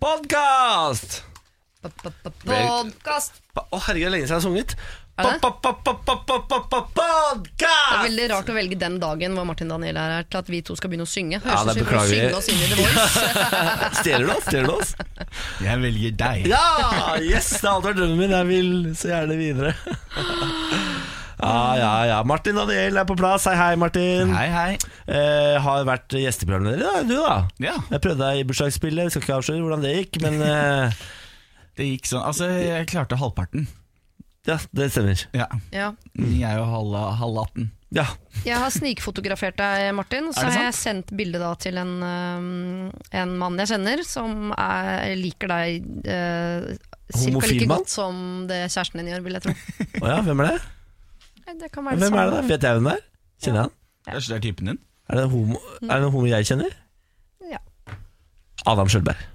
Podkast! Podkast. Å, herregud, det er lenge siden jeg har sunget. Er det? Det er Podkast! veldig rart å velge den dagen hvor Martin Daniel er her, til at vi to skal begynne å synge. Høres Ja, det ut som vi begynner å beklager. synge oss inn i The Voice. Stjeler du oss? Stjeler du oss? Jeg velger deg. Ja! Yes, det har alltid vært drømmen min. Jeg vil så gjerne videre. Ja, ja, ja. Martin Daniel er på plass. Hei, hei, Martin. Hei, hei. Eh, har vært gjesteprogramleder i dag, du da. Ja, Jeg prøvde deg i bursdagsspillet, skal ikke avsløre hvordan det gikk, men eh, det gikk sånn. Altså, jeg klarte halvparten. ja, det stemmer. Ja. Ja. Jeg er jo halv, halv 18. Ja, Jeg har snikfotografert deg, Martin, og så Er det har jeg sendt bildet da til en, eh, en mann jeg kjenner, som er, liker deg eh, cirka Homofil like mann? godt som det kjæresten din gjør, vil jeg tro. Å ja hvem er det? Nei, Det kan være Hvem er det da? samme. Vet jeg hvem det er? Kjenner jeg han? Kanskje det er typen din? Er det en homo, er det en homo jeg kjenner? Ja. Adam Sjølberg.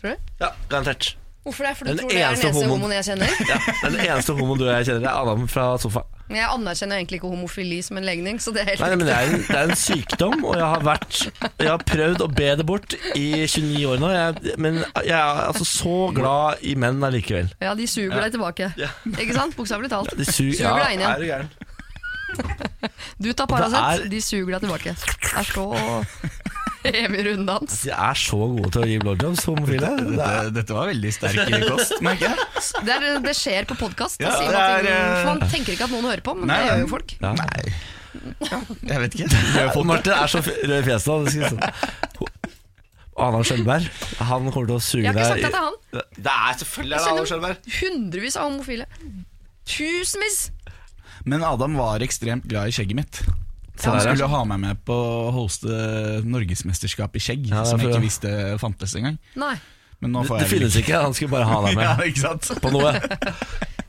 Tror du? Ja, garantert. Hvorfor det? For Den du tror det er eneste den eneste homoen. homoen jeg kjenner? Ja, det er den eneste homoen du og jeg kjenner, det er Adam fra sofa. Men jeg anerkjenner jo egentlig ikke homofili som en legning, så det er helt Nei, nei, men det er, en, det er en sykdom, og jeg har, vært, jeg har prøvd å be det bort i 29 år nå. Jeg, men jeg er altså så glad i menn allikevel. Ja, de suger deg tilbake. Ja. Ikke sant? Bokstavelig talt. De su- Suger deg inn igjen. er du gæren? Du tar Det Paracet, er- de suger deg tilbake. Der står Emil Runddans. De er så gode til å gi blowjobs, homofile. Det Dette, er, dette var veldig sterk kost, merker jeg. Det, er, det skjer på podkast. Ja, det er, eh, man tenker ikke at noen hører på, men det gjør jo folk. Ja. Nei. Jeg vet ikke. Martin er så f- rød i fjeset. han skal si sånn. Adam Sjølberg, han kommer til å suge Jeg har deg ikke sagt at det er han. Det er selvfølgelig Jeg kjenner hundrevis av homofile. Tusenvis! Men Adam var ekstremt glad i skjegget mitt. Se Han der, ja. skulle ha meg med på å hoste norgesmesterskap i skjegg, Ja, det er som jeg for- ikke visste fantes engang. Nei. Men nå Det, får det jeg finnes ikke, han skulle bare ha deg Ja, med ikke sant? på noe.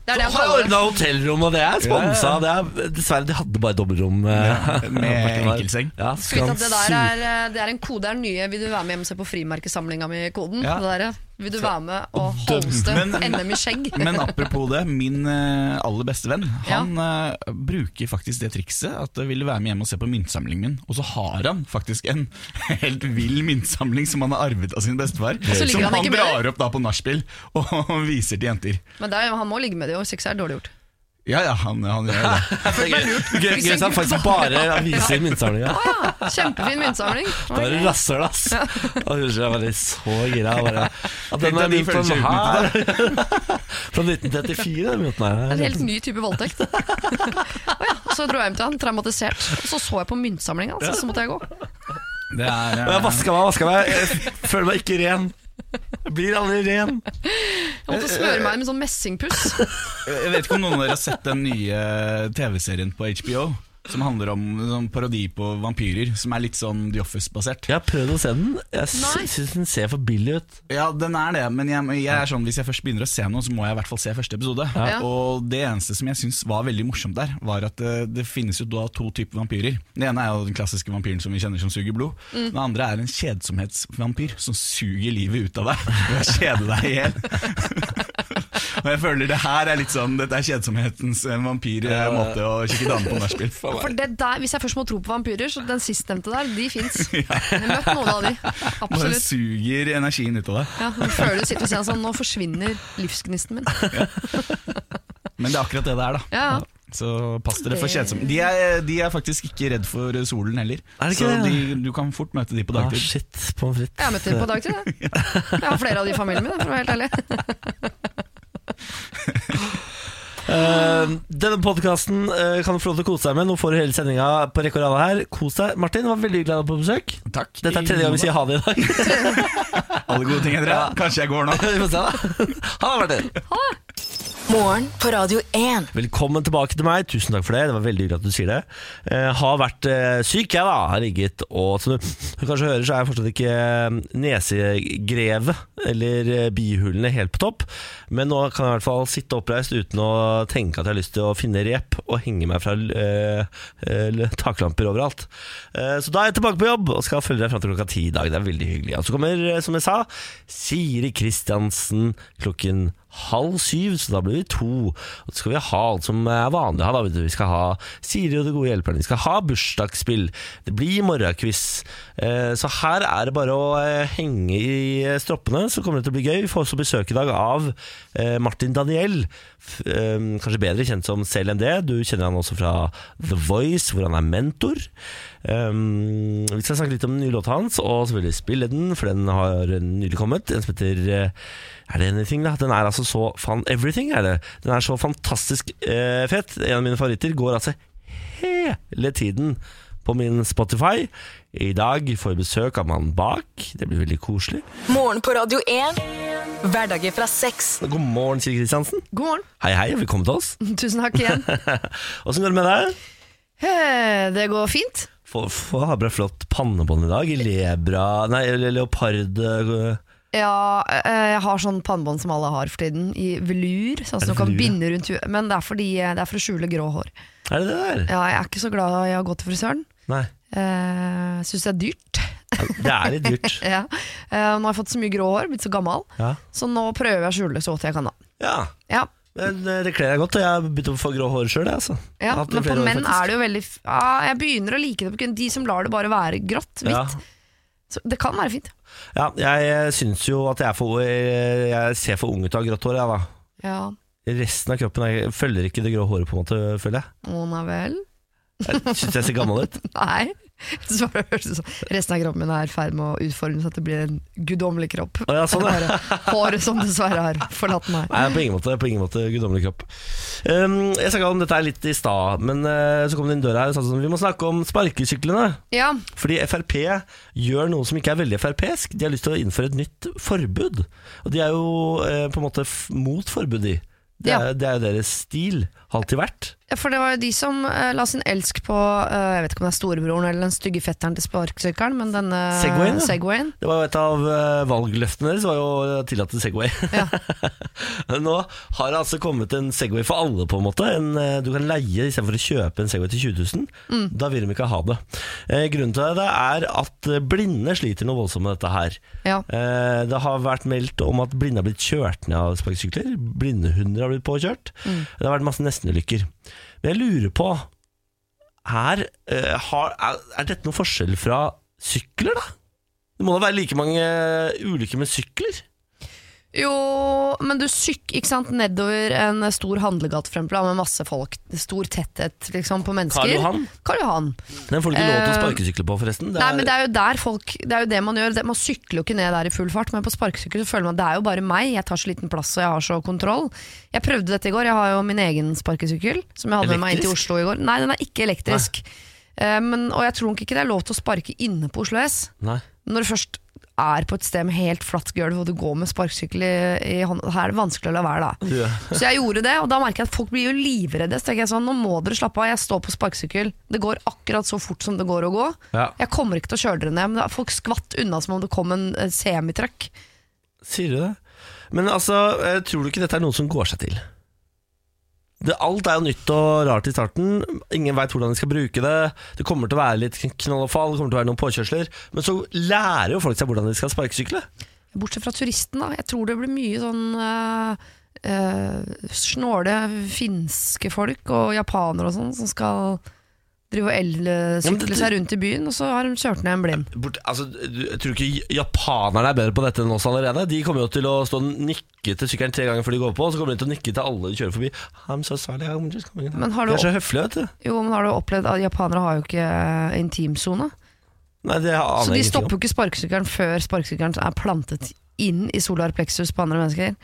Det er det Han har han kaller det. ordna hotellrom, og det er sponsa. Det er, dessverre, de hadde bare dobbeltrom. eh, Med enkelseng. Ja, Skal skal vite han at det, der suge er, eh, det er en kode det er nye. Vil du være med hjem og se på frimerkesamlinga mi-koden? Ja. Det der, eh, Vil du være med og hoste Men- NM i skjegg? Men apropos det, min eh, aller beste venn Han eh, bruker faktisk det trikset At jeg ville være med hjem og se på myntsamlingen min Og så har han faktisk en helt vill myntsamling Som han har arvet av sin bestefar så ligger Som han han, ikke med drar opp da på nachspiel Og viser til jenter Men det er, han må ligge med det, jo, hvis ikke så er det dårlig gjort. Ja, ja, han, han gjør det Gøy gøy at han faktisk bare viser myntsamlinga. Ja, kjempefin myntsamling. Da er du rasshøl, ass. Og Unnskyld, jeg var litt så gira. jeg Bare, at den Litt er av de mynt følelsene fra her. Fra 1934, den mynten En her. helt ny type voldtekt. Å ja, så dro jeg hjem til han, traumatisert. Og så så jeg på myntsamlinga, altså, så måtte jeg gå. Det er Og eh, Jeg vaska meg, vaska meg. Jeg føler meg ikke ren. Jeg blir aldri ren. Jeg måtte smøre meg med sånn messingpuss. Jeg vet ikke om noen av dere har sett den nye eh, TV-serien på HBO Som handler om en parodi på vampyrer Som er litt sånn The Office-basert Jeg har prøvd å se den. Jeg Nei. sy- syns den ser for billig ut. Ja, den er det, men jeg, jeg er sånn, hvis jeg først begynner å se noe, så må jeg i hvert fall se første episode. Ja. Og det eneste som jeg syns var veldig morsomt der, var at det, det finnes jo da to typer vampyrer. Den ene er jo den klassiske vampyren som vi kjenner som suger blod. Den andre er en kjedsomhetsvampyr som suger livet ut av deg ved å kjede deg i hjel. Og jeg føler det her er litt sånn Dette er kjedsomhetens eh, vampyr eh, måte å kikke dame på nachspiel. For det der, Hvis jeg først må tro på vampyrer, så den sistnevnte der, de fins. Jeg har møtt noen av de. Bare Absolutt. suger energien ut av deg. Ja, du føler du sitter og sier sånn Nå forsvinner livsgnisten min. Men det er akkurat det det er, da. Ja, ja. Så pass dere for Det- kjedsom. De er, de er faktisk ikke redd for solen heller. Er det ikke så det? De, du kan fort møte de på Ah, dagtid. shit, pommes frites. Jeg har møtt dem på dagtid, jeg. Jeg har flere av de i familien min, for å være helt ærlig. Eh, denne podkasten kan du få lov til å kose deg med. Nå får du hele sendinga på rekke og rad her. Kos deg. Martin, det var veldig hyggelig å ha deg på besøk. Takk. Dette er tredje gang vi sier ha det i dag. Alle gode ting, Andrea. Kanskje jeg går nå. vi får se, da. Ha det, Martin. Morgen på Radio 1. Velkommen tilbake til meg. Tusen takk for det. Det var veldig hyggelig at du sier det. Eh, har vært eh, syk, jeg, da. Har ligget og Som du, du kanskje hører, så er jeg fortsatt ikke eh, nesegrevet eller eh, bihulene helt på topp. Men nå kan jeg i hvert fall sitte oppreist uten å tenke at jeg har lyst til å finne rep og henge meg fra eh, eh, taklamper overalt. Eh, så da er jeg tilbake på jobb og skal følge deg fram til klokka ti i dag. Det er veldig hyggelig. Og så kommer, eh, som jeg sa, Siri Kristiansen klokken halv syv, så da blir vi to. Og så skal vi ha alt som er vanlig å ha. Da. vet du. Vi skal ha Siri og de gode hjelperne, vi skal ha bursdagsspill, det blir morgenquiz. Eh, Så her er det bare å eh, henge i eh, stroppene, så kommer det til å bli gøy. Vi får også besøk i dag av eh, Martin Daniel, f- eh, kanskje bedre kjent som CLMD. Du kjenner han også fra The Voice, hvor han er mentor. Um, vi skal snakke litt om den nye låta hans, og selvfølgelig spille den, for den har nylig kommet. En som heter eh, Er det Anything, da? Den er altså så fan Everything, er det. Den er så fantastisk eh, fett. En av mine favoritter går altså hele tiden på min Spotify. I dag får vi besøk av mannen bak. Det blir veldig koselig. Morgen på Radio 1. Hverdager fra seks. God morgen, Siri Kristiansen. God morgen. Hei, hei, og velkommen til oss. Tusen takk igjen. Åssen går det med deg? Eh, Det går fint. Få, få har bra flott pannebånd i dag. I lebra Nei, le- leopard eh, Ja, eh, jeg har sånn pannebånd som alle har for tiden, i velur. Sånn Er som det du kan velur, ja? binde rundt huet. Men det er, fordi, eh, det er for å skjule grå hår. Er det det der? Ja, jeg er ikke så glad i å gå til frisøren. Nei. Uh, Syns det er dyrt. Det er litt dyrt. ja. Eh, nå har jeg fått så mye grå hår, blitt så gammel, Ja. så nå prøver jeg å skjule det så godt jeg kan. da ja. ja. Men eh, det kler deg godt, og jeg har begynt å få grå hår sjøl. Altså. Ja, men på menn er det jo veldig f- ja, Jeg begynner å like det. på grunn- De som lar det bare være grått, hvitt. ja. Så det kan være fint. ja, jeg eh, syns jo at jeg, er for, eh, jeg ser for ung ut av grått hår, jeg, da. Ja, Resten av kroppen er, følger ikke det grå håret, på en måte, føler jeg. å nei vel. Jeg syns jeg ser gammel ut. Nei. Så bare høres det sånn. Resten av kroppen min er i ferd med å utformes så at det blir en guddommelig kropp. Å, ja, sånn, ja. Det er bare håret som dessverre har forlatt meg. Nei, på ingen måte, på ingen måte guddommelig kropp. Um, jeg snakka om dette her litt i stad, men eh, så kom det inn døra her og sa sånn Vi må snakke om sparkesyklene. Ja, Fordi Frp gjør noe som ikke er veldig frp-esk. De har lyst til å innføre et nytt forbud. Og de er jo eh, på en måte f mot forbud, de. Det er, Ja. det er jo deres stil. Har alltid vært. for det var jo de som eh, la sin elsk på eh, Jeg vet ikke om det er storebroren eller den stygge fetteren til sparkesykkelen, men denne Segwayen, ja. Segwayen. Det var jo et av eh, valgløftene deres, var jo å tillate Segway. Ja. Nå har det altså kommet en Segway for alle, på en måte. En, eh, du kan leie istedenfor å kjøpe en Segway til 20 000. Mm. Da vil de ikke ha det. Eh, grunnen til det er at eh, blinde sliter noe voldsomt med dette her. Ja. Eh, Det har vært meldt om at blinde har blitt kjørt ned av sparkesykler. Blindehunder har blitt påkjørt. Mm. Det har vært masse nestenulykker. Men jeg lurer på er, eh, har, er, er dette noen forskjell fra sykler, da? Det må da være like mange eh, ulykker med sykler? Jo, men du syk, ikke sant, nedover en stor handlegate for eksempel, da, med masse folk, stor tetthet liksom, på mennesker. Karl Johan? Karl Johan. Den får du ikke lov til å Eh, sparkesykle på, forresten. Det Nei, er- men det er jo der folk, det er jo det man gjør, Det- man sykler jo ikke ned der i full fart, men på sparkesykkel så føler man at det er jo bare meg, jeg tar så liten plass og jeg har så kontroll. Jeg prøvde dette i går, jeg har jo min egen sparkesykkel, som jeg hadde med meg inn til Elektrisk? Oslo i går. Nei, den er ikke elektrisk. Eh, men, og jeg tror nok ikke det er lov til å sparke inne på Oslo S. Nei. når du først er på et sted med helt flatt gulv og du går med sparkesykkel i, i hånda, her er det vanskelig å la være, da. Ja. Så jeg gjorde det, og da merker jeg at folk blir jo livredde. Så tenker jeg sånn, nå må dere slappe av, jeg står på sparkesykkel. Det går akkurat så fort som det går å gå. Ja. Jeg kommer ikke til å kjøre dere ned. Men da- folk skvatt unna som om det kom en eh, semitrøkk. Sier du det? Men altså, eh, tror du ikke dette er noe som går seg til? Det, alt er jo nytt og rart i starten. Ingen veit hvordan de skal bruke det. Det kommer til å være litt knall og fall, det kommer til å være noen påkjørsler. Men så lærer jo folk seg hvordan de skal sparkesykle. Bortsett fra turisten, da. Jeg tror det blir mye sånn eh, eh, snåle finske folk og japanere og sånn som skal drive og men det- elsykle seg rundt i byen, og så har de kjørt ned en blind. Bort, altså, du- jeg tror ikke japanerne er bedre på dette enn oss allerede. De kommer jo til å stå og nikke til sykkelen tre ganger før de går på, og så kommer de til å nikke til alle de kjører forbi. I'm so sorry, I'm just coming in. Men har De du er så høflige, vet du. Jo, men har du opplevd at japanere har jo ikke eh, intimsone? Ah, Nei, det aner Så de jeg ingenting om. stopper jo ikke sparkesykkelen før sparkesykkelen er plantet inn i solar plexus på andre mennesker.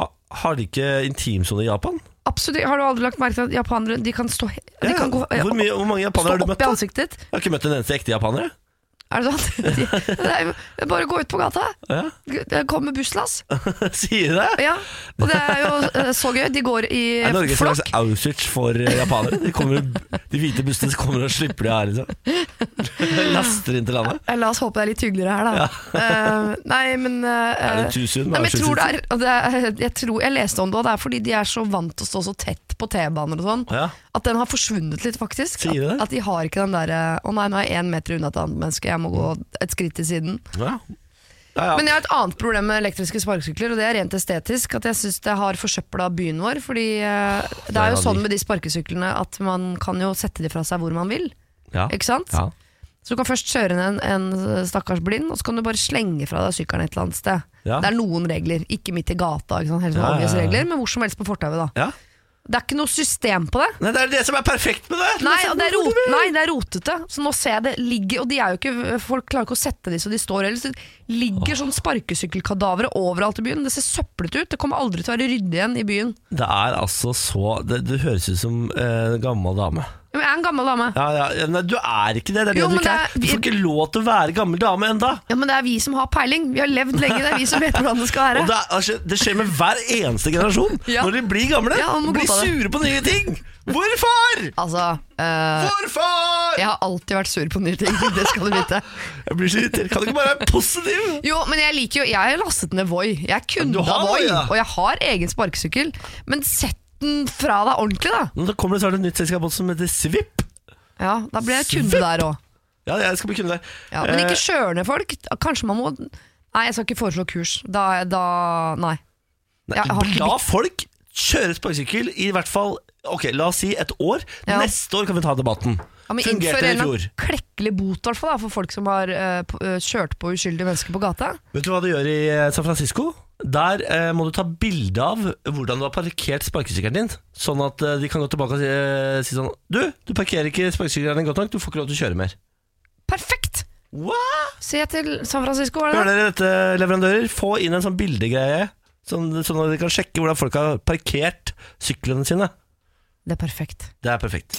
Ha, har de ikke intimsone i Japan? Absolutt, Har du aldri lagt merke til at japanere de kan stå he- de Ja, kan gå, hvor, mye, hvor mange stå japanere har du møtt? opp i da? ansiktet ditt? Jeg har ikke møtt en eneste ekte japaner. jeg. Er det sånn? De, det er jo bare å gå ut på gata. Det kommer busslass. Sier du det? Ja, og det er jo eh, så gøy. De går i Er Norge et slags flokk. Auschwitz for eh, japanere? De, kommer, de hvite bussene som kommer og slipper de her, liksom. Laster inn til landet. Eh, La oss håpe det er litt hyggeligere her, da. Eh, nei, men eh, Er det too soon? Nei, men jeg, tror det Auschwitz? er, og det er, jeg tror jeg leste om det, og det er fordi de er så vant til å stå så tett på T-baner og sånn, Ja. at den har forsvunnet litt, faktisk. Sier du det? At, at de eh, har ikke den derre Å nei, nå er jeg én meter unna et annet menneske, jeg må gå et skritt til siden. Ja. Ja, ja. Men jeg har et annet problem med elektriske sparkesykler, og det er rent estetisk. At jeg syns det har forsøpla byen vår. Fordi eh, det der er har jo vi. sånn med de sparkesyklene at man kan jo sette de fra seg hvor man vil. Ja. Ikke sant? Ja. Så du kan først kjøre ned en, en stakkars blind, og så kan du bare slenge fra deg sykkelen et eller annet sted. Ja. Det er noen regler, ikke midt i gata, ikke sant? helt sånn Ja, ja, ja. obvious regler, men hvor som helst på fortauet. da. Ja. Det er ikke noe system på det. Nei, det er det som er perfekt med det! Nei, og det er, rot, nei, det er rotete. Så nå ser jeg det ligger Og de er jo ikke, folk klarer ikke å sette de så de står heller. Så det ligger sånn sparkesykkelkadavere overalt i byen. Det ser søplete ut. Det kommer aldri til å være ryddig igjen i byen. Det er altså så Det, det høres ut som eh, en gammel dame. Ja, men jeg er en gammel dame. Ja, ja, ja, nei, du er ikke det. Det er det Jo, du men ikke er. det er- Du får ikke lov til å være gammel dame enda Ja, Men det er vi som har peiling. Vi har levd lenge. Det er vi som vet hvordan det skal Og det, være. er, altså, det skjer med hver eneste generasjon. Ja. Når de blir gamle, Ja, man må blir godta det. sure på nye ting. Hvorfor? Altså, eh, Hvorfor? jeg har alltid vært sur på nye ting. Det skal du vite. Jeg blir så irritert. Kan du ikke bare være positiv? Jo, men jeg liker jo Jeg har lastet ned Voi. Jeg er kunde Du har av Voi, Voi, ja. og jeg har egen sparkesykkel. Men sett den fra deg ordentlig, da. Men Da kommer det snart et nytt selskap også som heter Svipp. Ja, Da blir jeg kunde Svipp. der òg. Ja, jeg skal bli kunde der. Ja, men ikke Eh, kjør ned folk. Kanskje man må Nei, jeg skal ikke foreslå kurs. Da, da Nei. nei, jeg har ikke la folk kjøre sparkesykkel i hvert fall Ok, La oss si et år. Ja. Neste år kan vi ta debatten. Ja, men Fungerte innfør det en i eller fjor? annen klekkelig bot i hvert fall, da, for folk som har eh, p- eh, kjørt på uskyldige mennesker på gata. Vet du hva du gjør i eh, San Francisco? Der eh, må du ta bilde av hvordan du har parkert sparkesykkelen din. Sånn at eh, de kan gå tilbake og si, eh, si sånn Du, du parkerer ikke sparkesykkelen din godt nok, du får ikke lov til å kjøre mer. Perfekt! What? Se til San Francisco, var Hører det det? dere dette, leverandører? Få inn en sånn bildegreie, sånn, sånn at de kan sjekke hvordan folk har parkert syklene sine. Det er perfekt. Det er perfekt.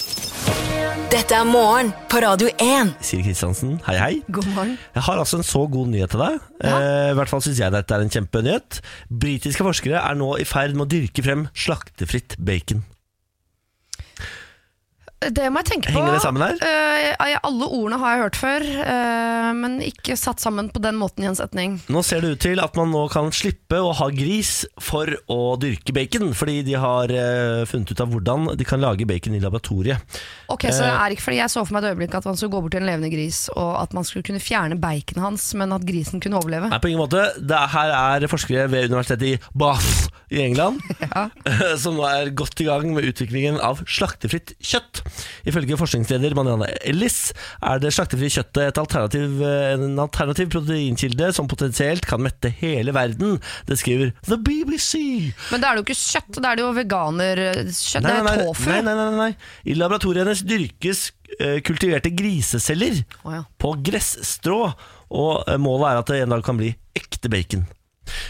Dette er morgen på Radio 1. Siri Kristiansen, hei hei. God morgen. Jeg har altså en så god nyhet til deg. Eh, I hvert fall syns jeg dette er en kjempenyhet. Britiske forskere er nå i ferd med å dyrke frem slaktefritt bacon. Eh, Det må jeg tenke på. Henger det sammen her? Eh, jeg- alle ordene har jeg hørt før, eh, men ikke satt sammen på den måten i en setning. Nå ser det ut til at man nå kan slippe å ha gris for å dyrke bacon, fordi de har eh, funnet ut av hvordan de kan lage bacon i laboratoriet. Ok, så det er ikke fordi Jeg så for meg et øyeblikk at man skulle gå bort til en levende gris, og at man skulle kunne fjerne beiken hans, men at grisen kunne overleve. Nei, på ingen måte. Det er, her er forskere ved universitetet i Bath i England eh, Ja. som nå er godt i gang med utviklingen av slaktefritt kjøtt. Ifølge forskningsleder Marianne Ellis er det slaktefrie kjøttet et alternativ, eh, en alternativ proteinkilde som potensielt kan mette hele verden. Det skriver The BBC. Men da er det jo ikke kjøtt, da er det jo veganerkjøtt. Det er nei, tofu. nei, nei, nei, nei. I laboratoriet hennes dyrkes eh, kultiverte griseceller Å ja. på gressstrå, og eh, målet er at det en dag kan bli ekte bacon.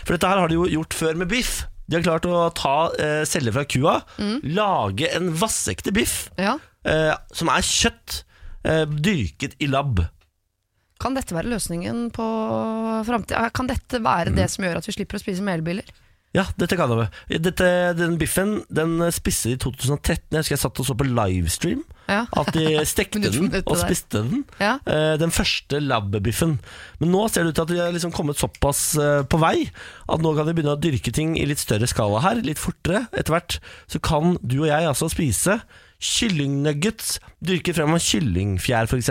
For dette her har de jo gjort før med biff. De har klart å ta eh, celler fra kua, Mm. lage en vassekte biff, Ja. eh, som er kjøtt, eh, dyrket i lab. Kan dette være løsningen på framtida? Kan dette være Mm. det som gjør at vi slipper å spise melbiler? Ja, dette kan det være. Dette, den biffen den spiste de i 2013. Jeg husker jeg satt og så på livestream. Ja. At de stekte Minutt for den minutt, det og der. spiste den. Ja. Eh, Den første labbebiffen. Men nå ser det ut til at de har liksom kommet såpass eh, på vei at nå kan de begynne å dyrke ting i litt større skala her, litt fortere. Etter hvert så kan du og jeg altså spise kyllingnuggets dyrket frem av kyllingfjær, f.eks.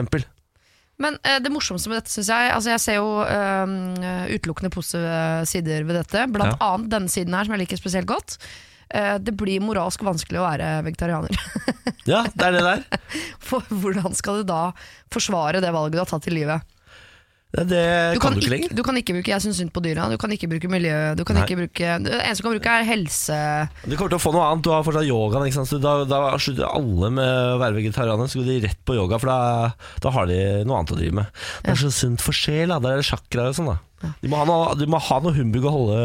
Men eh, det morsomste med dette, syns jeg altså Jeg ser jo eh, utelukkende positive sider ved dette. Blant annet denne siden her, som jeg liker spesielt godt. Eh, det blir moralsk vanskelig å være vegetarianer. Ja, det er det der. For hvordan skal du da forsvare det valget du har tatt i livet? Det, det kan, du ikke lenger. du kan ikke bruke 'jeg syns synd på dyra', du kan ikke bruke miljø Du kan Nei. ikke bruke Det eneste du kan bruke, er helse... Du kommer til å få noe annet. Du har fortsatt yogaen. Ikke sant? Så da, da slutter alle med å være vegetarianer, så går de rett på yoga, for da, da har de noe annet å drive med. Det er så sunt for sjela. Der er det chakraer og sånn, da. Du må ha noe, du må ha noe humbug å holde,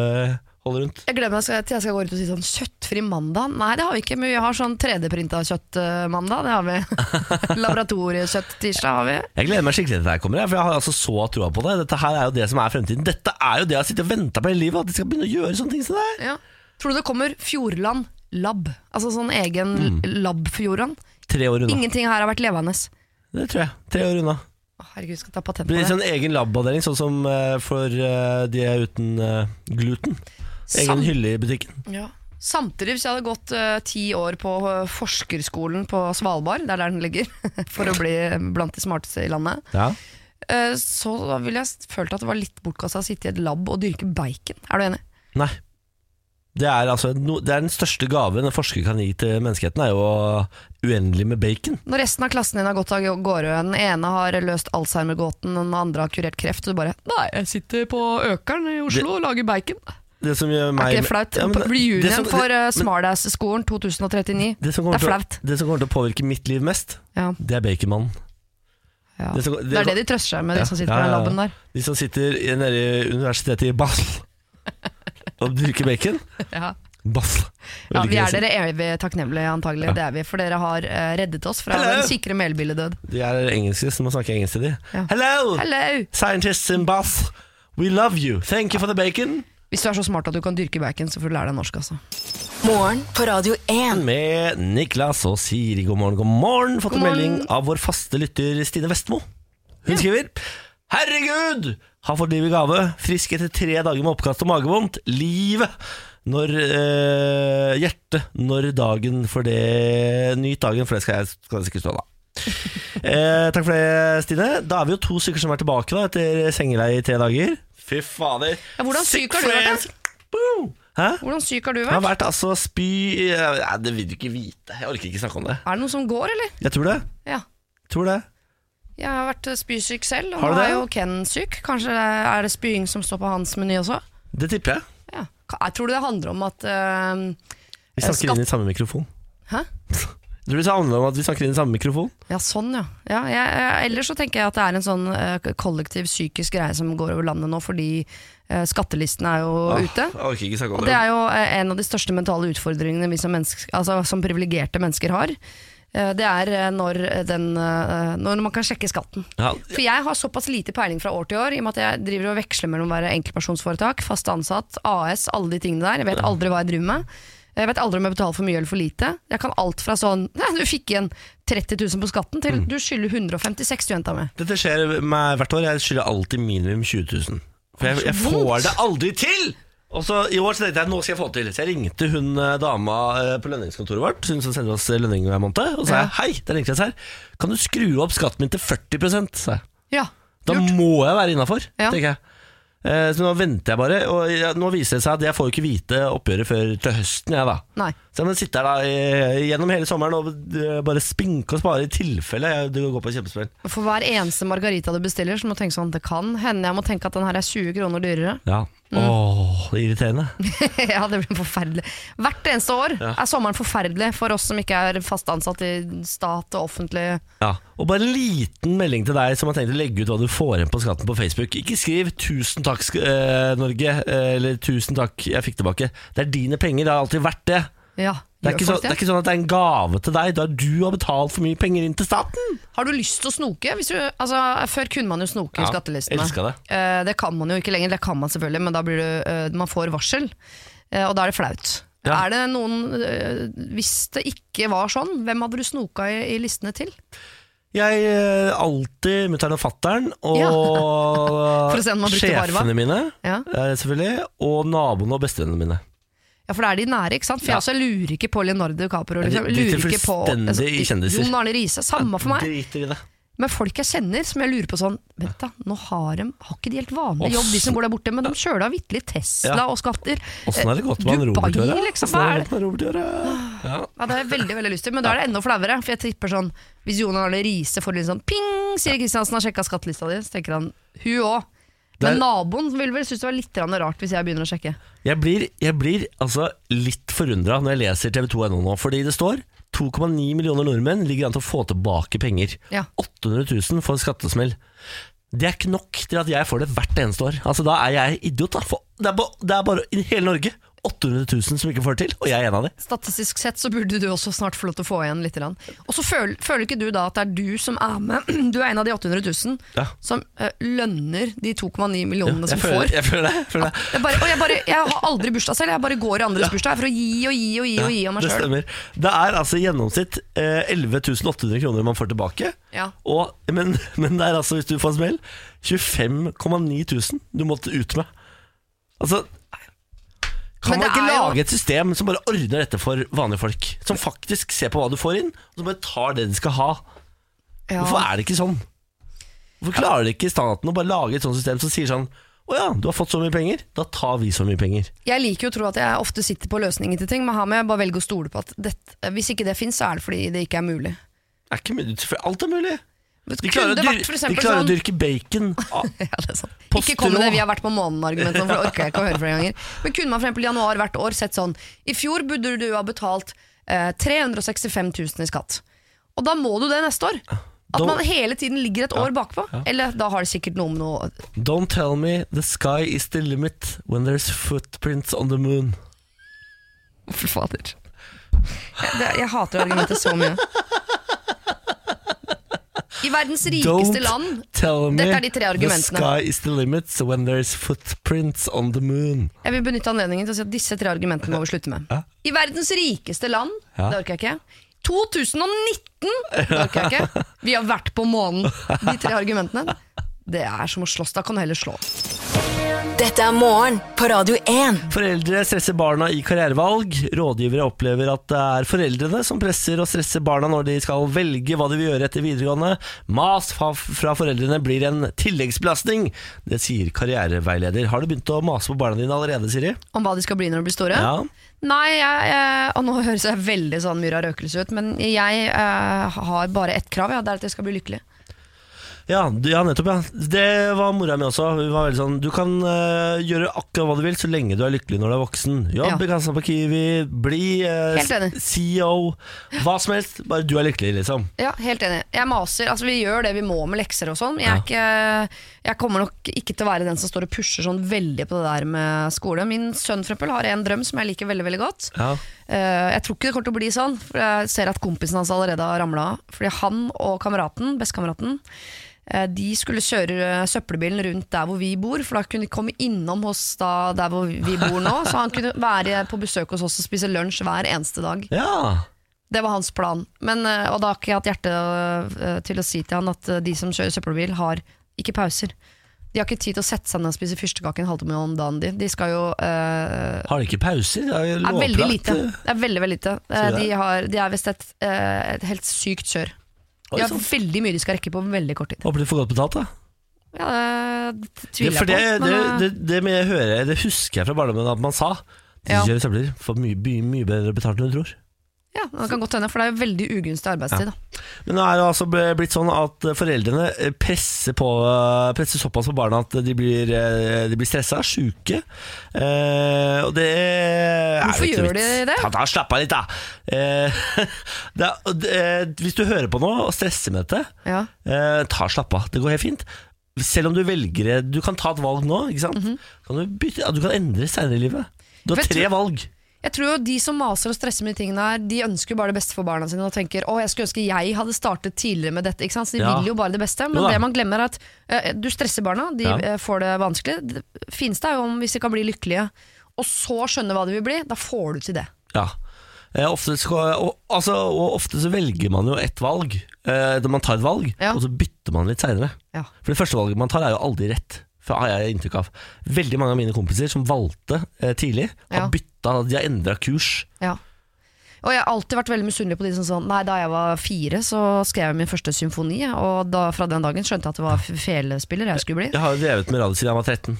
holde rundt. Jeg gleder meg skal- til jeg skal gå ut og si sånn kjøttfri mandag. Nei, det har vi ikke, men vi har sånn 3D-printa kjøttmandag. Det har vi. Laboratoriekjøtt-tirsdag har vi. Jeg gleder meg skikkelig til dette her kommer, jeg, for jeg har altså så troa på det. Dette her er jo det som er fremtiden. Dette er jo det jeg har sittet og venta på hele livet, at de skal begynne å gjøre sånne ting som det her. Ja. Tror du det kommer Fjordland Lab? Altså sånn egen Mm. lab-Fjordland? Tre år unna. Ingenting her har vært levende. Det tror jeg. Tre år unna. Å, Herregud, skal ta patent Det på blir det. sånn egen labavdeling, sånn som eh, for eh, de uten eh, gluten. sånn Egen Sam- hylle i butikken. Ja. Samtidig, hvis jeg hadde gått eh, ti år på eh, forskerskolen på Svalbard, det er der den ligger, for å bli blant de smarteste i landet, Ja. eh, så ville jeg s- følt at det var litt bortkasta å sitte i et lab og dyrke bacon. Er du enig? Nei. Det er, altså, no, det er den største gaven en forsker kan gi til menneskeheten, er jo uendelig med bacon. Når resten av klassen din har gått av gårde, den ene har løst Alzheimer-gåten, den andre har kurert kreft, og du bare Nei, jeg sitter på Økeren i Oslo og lager bacon. Det som gjør Er meg ikke det flaut? Ja, men- det Reunion som- for eh, det- men Smartass-skolen 2039. det som kommer det er til å- flaut. Det som kommer til å påvirke mitt liv mest, Ja, det er baconmannen. ja. Det som- Det er det de trøster seg med, de Ja, som sitter ja, på ja, den ja. laben der. De som sitter i- nede i universitetet i Basel og bruker bacon. Ja. Basel. Ja, Veldig vi er gøy. dere evig takknemlige, antagelig. Det er vi, for dere har eh, reddet oss fra Hello. den sikre melbilledød. De er engelske, så må snakke engelsk til de. Ja. Hello! Hello! Scientists in Basel, we love you. Thank you for the bacon. Hvis du er så smart at du kan dyrke bacon, så får du lære deg norsk, altså. Morgen på Radio 1. Med Niklas og Siri, god morgen, god morgen. Fått en God morgen. melding av vår faste lytter Stine Vestmo. Hun skriver Herregud! Har fått liv i gave. Frisk etter tre dager med oppkast og magevondt. Livet! Når eh, Hjertet. Når dagen for det Nyt dagen, for det skal jeg, skal jeg sikkert stå, da. Eh, takk for det, Stine. Da er vi jo to stykker som er tilbake da etter sengeleie i tre dager. Fy fader. Ja, hvordan syk har du vært, da? friends. Boom! Hæ? Hvordan syk har du Jeg har vært? vært altså spy Nei, Det vil du ikke vite. Jeg orker ikke snakke om det. Er det noen som går, eller? Jeg tror det. Ja. Tror det. Jeg har vært eh, spysyk selv, og Har du nå det? er jo Ken syk. Kanskje det er det spying som står på hans meny også? Det tipper jeg. Ja. Ka- Jeg tror det handler om at eh, Vi Eh, snakker skatt- inn i samme mikrofon. Hæ? Tror du det handler om at vi snakker inn i samme mikrofon? Ja, sånn, ja. ja jeg, jeg- ellers så tenker jeg at det er en sånn eh, kollektiv psykisk greie som går over landet nå, fordi eh, skattelistene er jo ute. Ah, Jeg orker ikke snakke Og om det det. er jo eh, en av de største mentale utfordringene vi som, menneske- altså, som privilegerte mennesker har. Eh, Det er eh, når, den, eh, når man kan sjekke skatten. Ja, For jeg har såpass lite peiling fra år til år, i og med at jeg driver og veksler mellom å være enkeltpersonsforetak, fast ansatt, AS, alle de tingene der. Jeg vet aldri hva jeg driver med. Jeg vet aldri om jeg betaler for mye eller for lite. Jeg kan alt fra sånn Nei, du fikk igjen 30 000 på skatten, Mm. til du skylder 156 du jenta mi. Dette skjer meg hvert år. Jeg skylder alltid minimum 20 000. For jeg, jeg Så får vondt. det aldri til! Og så I år så tenkte jeg nå skal jeg få det til. Så jeg ringte hun eh, dama eh, på lønningskontoret vårt, hun som sender oss eh, lønning hver måned, og sa Ja. jeg, hei, det er Niklas her. Kan du skru opp skatten min til 40 sa jeg. Ja. Da må jeg være innafor, Ja. tenker jeg. Eh, Så nå venter jeg bare, og jeg- nå viser det seg at jeg får jo ikke vite oppgjøret før til høsten, jeg da. Nei. Så jeg må sitte her da eh, gjennom hele sommeren og eh, bare spinke og spare i tilfelle jeg- det går på et kjempesmell. For hver eneste margarita du bestiller, så må du tenke sånn Det kan hende jeg må tenke at den her er 20 kroner dyrere. Ja. Åh, det er irriterende. ja, det blir forferdelig. Hvert eneste år er sommeren forferdelig for oss som ikke er fast ansatt i stat og offentlig. Ja. Og bare en liten melding til deg som har tenkt å legge ut hva du får igjen på skatten på Facebook. Ikke skriv 'tusen takk, sk- eh, Norge', eh, eller 'tusen takk, jeg fikk tilbake'. Det er dine penger, det har alltid vært det. Ja, Det er, gjør ikke folk sånn, det er ikke sånn at det er en gave til deg, da du har betalt for mye penger inn til staten. Har du lyst til å snoke? Hvis du, altså, før kunne man jo snoke i Ja, skattelistene. elsket det. Eh, det kan man jo ikke lenger, det kan man selvfølgelig, men da blir du, eh, man får varsel, eh, og da er det flaut. Ja. Er det noen, eh, Hvis det ikke var sånn, hvem hadde du snoka i, i listene til? Jeg eh, alltid mutter'n og fatter'n og For å se om man brukte varva. sjefene mine, Ja. eh, selvfølgelig, og naboene og bestevennene mine. Ja, For det er de nære, ikke sant? For Ja. jeg også lurer ikke på Leonardo DiCapro. Jeg Liksom. driter Lurer ikke på altså, fullstendig i kjendiser. Jon Arne Riise. Samme for meg. Driter i det. Men folk jeg kjenner som jeg lurer på sånn Vent da, nå har, de, har ikke de helt vanlig Åssen- jobb, de som går der borte, men de kjøler da vitterlig Tesla Ja. og skatter. Åssen har det gått med Eh, han Robert i Dubai, året? liksom, Åssen hva har er Ah. det gått med Robert i året? Ja. Ja, det har jeg veldig veldig lyst til, men da er det enda flauere. For jeg tipper sånn Hvis Jon Arne Riise får litt sånn ping, Siri Kristiansen har sjekka skattelista di, så tenker han hun òg. Det er- Men naboen ville vel synes det var litt grann rart hvis jeg begynner å sjekke. Jeg blir, jeg blir altså litt forundra når jeg leser TV2.no nå, fordi det står 2,9 millioner nordmenn ligger an til å få tilbake penger. Ja. 800 000 får skattesmell. Det er ikke nok til at jeg får det hvert eneste år. Altså Da er jeg idiot, da. For det, er ba, det er bare i hele Norge 800 000 som ikke får det til, og jeg er en av de. Statistisk sett så burde du også snart få lov til å få igjen litt. grann. Og så føler, føler ikke du da at det er du som er med, du er en av de 800 000 Ja. som eh, lønner de 2,9 millionene Jeg som føler, får. jeg føler det. Jeg føler det. Jeg, bare, og jeg, bare, jeg har aldri bursdag selv, jeg bare går i andres bursdag for å gi og gi og gi og gi av meg det sjøl. stemmer. Det er altså i gjennomsnitt eh, 11 800 kroner man får tilbake. Ja. Og, men, men det er altså, hvis du får smell, 25,9 000 du måtte ut med. Altså Men Kan man det ikke er jo- lage et system som bare ordner dette for vanlige folk? Som faktisk ser på hva du får inn, og som bare tar det de skal ha. Ja. Hvorfor er det ikke sånn? Hvorfor klarer ikke staten å bare lage et sånt system som sier sånn Å ja, du har fått så mye penger, da tar vi så mye penger. Jeg liker jo å tro at jeg ofte sitter på løsninger til ting, men her må jeg bare velge å stole på at dette, hvis ikke det fins, så er det fordi det ikke er mulig. Det er ikke mulig, for alt er mulig. Men De klarer, å, kunne det vært dyr, for de eksempel klarer å sånn dyrke bacon. Ah, ja, det er sant. Postero. Ikke kom med det, vi har vært på månen-argumentet, for det orker jeg ikke å høre flere ganger. Men kunne man for eksempel i januar hvert år sett sånn I fjor burde du ha betalt eh, 365 000 i skatt. Og da må du det neste år. At Da- man hele tiden ligger et år bakpå. Eller da har det sikkert noe med noe Don't tell me the sky is the limit when there's footprints on the moon. Fy fader. Jeg, det, jeg hater argumentet så mye. I verdens rikeste Don't land Tell me Dette er de tre argumentene. the sky is the limit so when there's footprints on the moon. Jeg vil benytte anledningen til å si at disse tre argumentene må vi slutte med. I verdens rikeste land, Ja. det orker jeg ikke. 2019, det orker jeg ikke. Vi har vært på månen. De tre argumentene. Det er som å slåss. Da kan du heller slå. Dette er morgen på Radio 1. Foreldre stresser barna i karrierevalg. Rådgivere opplever at det er foreldrene som presser og stresser barna når de skal velge hva de vil gjøre etter videregående. Mas fra, fra foreldrene blir en tilleggsbelastning. Det sier karriereveileder. Har du begynt å mase på barna dine allerede, Siri? Om hva de skal bli når de blir store. Ja. Nei, jeg, jeg, og nå høres jeg veldig sånn Myra Røkelse ut, men jeg eh, har bare ett krav, ja, det er at jeg skal bli lykkelig. Ja, du- ja, nettopp. ja Det var mora mi også. Hun var veldig sånn Du kan eh, gjøre akkurat hva du vil så lenge du er lykkelig når du er voksen. Jobb i kassa på Kiwi, bli eh, Helt enig. CEO, hva som helst. Bare du er lykkelig, liksom. Ja, helt enig. Jeg maser. Altså, vi gjør det vi må med lekser og sånn. Jeg, er ikke, jeg kommer nok ikke til å være den som står og pusher sånn veldig på det der med skole. Min sønn for eksempel, har en drøm som jeg liker veldig veldig godt. Ja. Eh, jeg tror ikke det kommer til å bli sånn, for jeg ser at kompisen hans allerede har ramla av. Fordi han og kameraten, bestekameraten, eh, de skulle kjøre eh, søppelbilen rundt der hvor vi bor, for da kunne de komme innom oss da, der hvor vi bor nå. Så han kunne være på besøk hos oss og spise lunsj hver eneste dag. ja. Det var hans plan. Men, eh, og da har ikke jeg hatt hjerte eh, til å si til han at eh, de som kjører søppelbil, har ikke pauser. De har ikke tid til å sette seg ned og spise fyrstekake en halvtime om dagen. De, de skal jo eh, Har de ikke pauser? Det er, jo er veldig lovprat. lite. Det er veldig, veldig lite. Eh, Sier du det? De, har, de er visst et, eh, et helt sykt kjør. Oi, De har sånn. veldig mye de skal rekke på veldig kort tid. Håper de får godt betalt, da. Ja, det Det, tviler for det, jeg på. det, men, eh, det, det, med jeg hører, det husker jeg fra barndommen at man sa. De Ja. som kjører søppelbiler får mye, mye, mye bedre betalt enn du tror. ja, det kan godt hende, for det er jo veldig ugunstig arbeidstid. da. Men nå er det altså blitt sånn at foreldrene eh, presser, på, eh, presser såpass på barna at de blir, eh, de blir stressa, sjuke. Eh, og det er Hvorfor jo ikke gjør de vits. det? Ta, ta, slapp av litt, da! Eh, det er, og det, eh, hvis du hører på nå og stresser med dette, Ja. eh, ta slapp av. Det går helt fint. Selv om du velger Du kan ta et valg nå, ikke sant? kan du, bytte, ja, du kan endre senere i livet. Du har Mhm. Vet du- tre valg. Jeg tror jo de som maser og stresser med de tingene her, de ønsker jo bare det beste for barna sine og tenker å, jeg skulle ønske jeg hadde startet tidligere med dette. Ikke sant? Så de Ja. vil jo bare det beste. Jo Men da. det man glemmer er at eh, du stresser barna, de Ja. eh, får det vanskelig. Det fineste er jo om hvis de kan bli lykkelige, og så skjønne hva de vil bli. Da får du til det. Ja. Eh, Ofte, skal, og, altså, og ofte så velger man jo ett valg. Eh, når man tar et valg, Ja. og så bytter man litt seinere. Ja. For det første valget man tar, er jo aldri rett. For har jeg inntrykk av Veldig mange av mine kompiser som valgte eh, tidlig, har Ja. bytta, de har endra kurs. Ja. Og jeg har alltid vært veldig misunnelig på de som sånn Nei, da jeg var fire, så skrev jeg min første symfoni, jeg, og da, fra den dagen skjønte jeg at det var f- felespiller jeg skulle bli. Jeg har jo drevet med radio siden jeg var 13.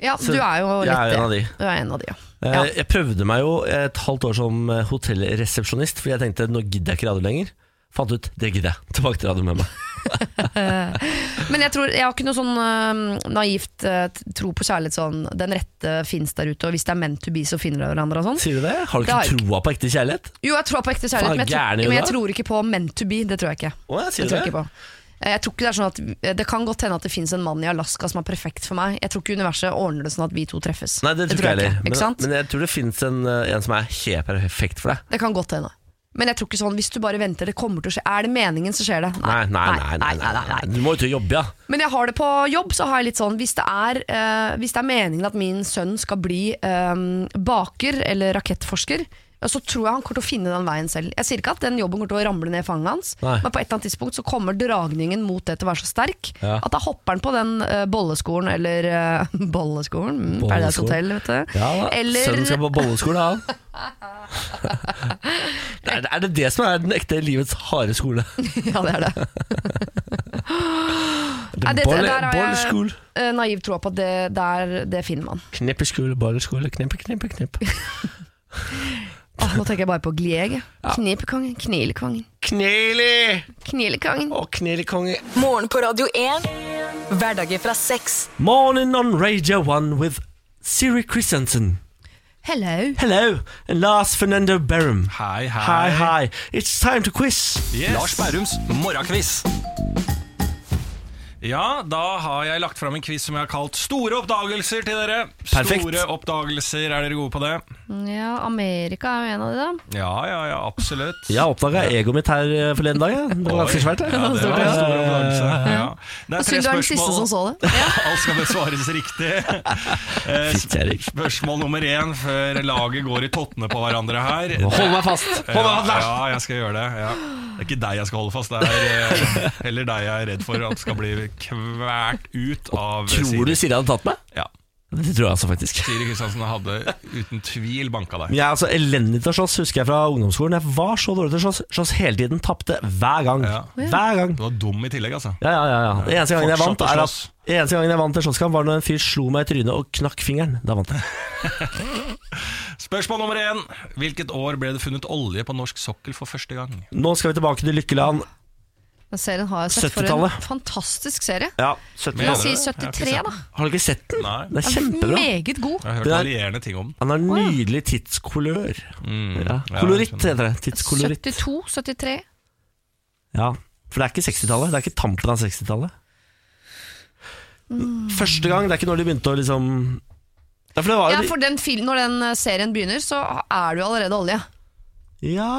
Ja, Så du er jo jeg er litt en av det. de. Du er en av de, ja. Eh, Ja. Jeg prøvde meg jo et halvt år som eh, hotellresepsjonist, fordi jeg tenkte nå gidder jeg ikke radio lenger. Fant ut det gidder jeg. Tilbake til radio med meg. Men jeg, tror, jeg har ikke noe sånn øhm, naivt øh, t- tro på kjærlighet sånn Den rette fins der ute, og hvis det er meant to be, så finner dere hverandre og sånn. Sier du det? Har du Det har jeg ikke troa på ekte kjærlighet? Jo, jeg tror på ekte Faen, kjærlighet, men jeg, gæren er du tror, men jeg da? tror ikke på meant to be. Det tror jeg ikke. Å, jeg Det sier tror jeg det. ikke på. Eh, Jeg tror ikke Det er sånn at eh, Det kan godt hende at det fins en mann i Alaska som er perfekt for meg. Jeg tror ikke universet ordner det sånn at vi to treffes. Nei, det, tror ikke jeg heller. ikke, ikke Men, sant? men jeg tror det fins en, eh, en som er helt perfekt for deg. Det kan godt hende. Men jeg tror ikke sånn hvis du bare venter, det kommer til å skje. Er det meningen, så skjer det. Nei, nei, nei. nei, nei, Du må jo til å jobbe, ja. Men jeg har det på jobb, så har jeg litt sånn Hvis det er, eh, hvis det er meningen at min sønn skal bli eh, baker eller rakettforsker, ja, så tror jeg han kommer til å finne den veien selv. Jeg sier ikke at den jobben kommer til å ramle ned i fanget hans, Nei. men på et eller annet tidspunkt så kommer dragningen mot det til å være så sterk Ja. at da hopper han på den eh, bolleskolen eller eh, Bolleskolen? Mm, Paradise Bolleskolen. Hotel, vet du. ja da. eller Sønnen skal på bolleskole, han. er, det- er det det som er den ekte livets harde skole? Ja, det er det. Det Nei, det- Bolle- der har jeg- Bolleskål. Eh, naiv tro på at det, der, det finner man. Knippeskål, bolleskål, knippe, knippe, knipp. Åh, nå tenker jeg bare på Glieg. Ja. Knipekongen, knilekongen, Kneli! knilekongen. Å, knelikonge. Morgen på Radio 1. Hverdager fra seks. Morning on Radio 1 with Siri Christensen. Hello. Hello, and Lars Fernando Berrum. Hei, Hi, hei. hi. It's time to quiz. Yes. Lars Bærums morgenkviss. Ja, da har jeg lagt fram en quiz som jeg har kalt Store oppdagelser til dere. Perfekt. Store oppdagelser, er dere gode på det? Ja, Amerika er jo en av de, da. Ja, ja, ja, absolutt. Jeg oppdaga egoet mitt her eh, forleden dag. jeg. Det var ganske svært. jeg. Ja, det var en stor oppdagelse. Ja. Det er Og Synd du er den siste som så det. Alt skal besvares riktig. Eh, Shit, Erik. Spørsmål nummer én før laget går i tottene på hverandre her. Hold meg fast! Hold meg fast, ja, Lars! ja, jeg skal gjøre det. Ja. Det er ikke deg jeg skal holde fast, det er eh, heller deg jeg er redd for at skal bli kvært ut av Tror du Siri hadde tatt meg? Ja. Det tror jeg altså faktisk. Siri Kristiansen hadde uten tvil banka deg. Jeg er altså elendig til å slåss, husker jeg fra ungdomsskolen. Jeg var så dårlig til å slåss. Slåss hele tiden, tapte hver gang. Ja. Hver gang. Du var dum i tillegg, altså. Ja, ja, ja, ja. Den eneste gangen jeg Fortsatt vant, å er at, slåss. eneste gangen jeg vant en slåsskamp, var når en fyr slo meg i trynet og knakk fingeren. Da vant jeg. Spørsmål nummer én. Hvilket år ble det funnet olje på norsk sokkel for første gang? Nå skal vi tilbake til lykkeland. Den serien har jeg sett for en 70-tallet. fantastisk serie. Ja, 70 Men- Jeg sier 73, da. Har du ikke sett den? Nei. Den er kjempebra. Meget god. Jeg har Det hørt er- varierende ting om den. Mm. Han har nydelig tidskolør. Ja. Ja, Koloritt jeg skjønner. heter det. Tidskoloritt. 72, 73. Ja, for det er ikke 60-tallet. Det er ikke tampen av 60-tallet. Første gang, det er ikke når de begynte å liksom Ja, for det var Ja, jo for den fil Når den eh, serien begynner, så er det jo allerede olje. ja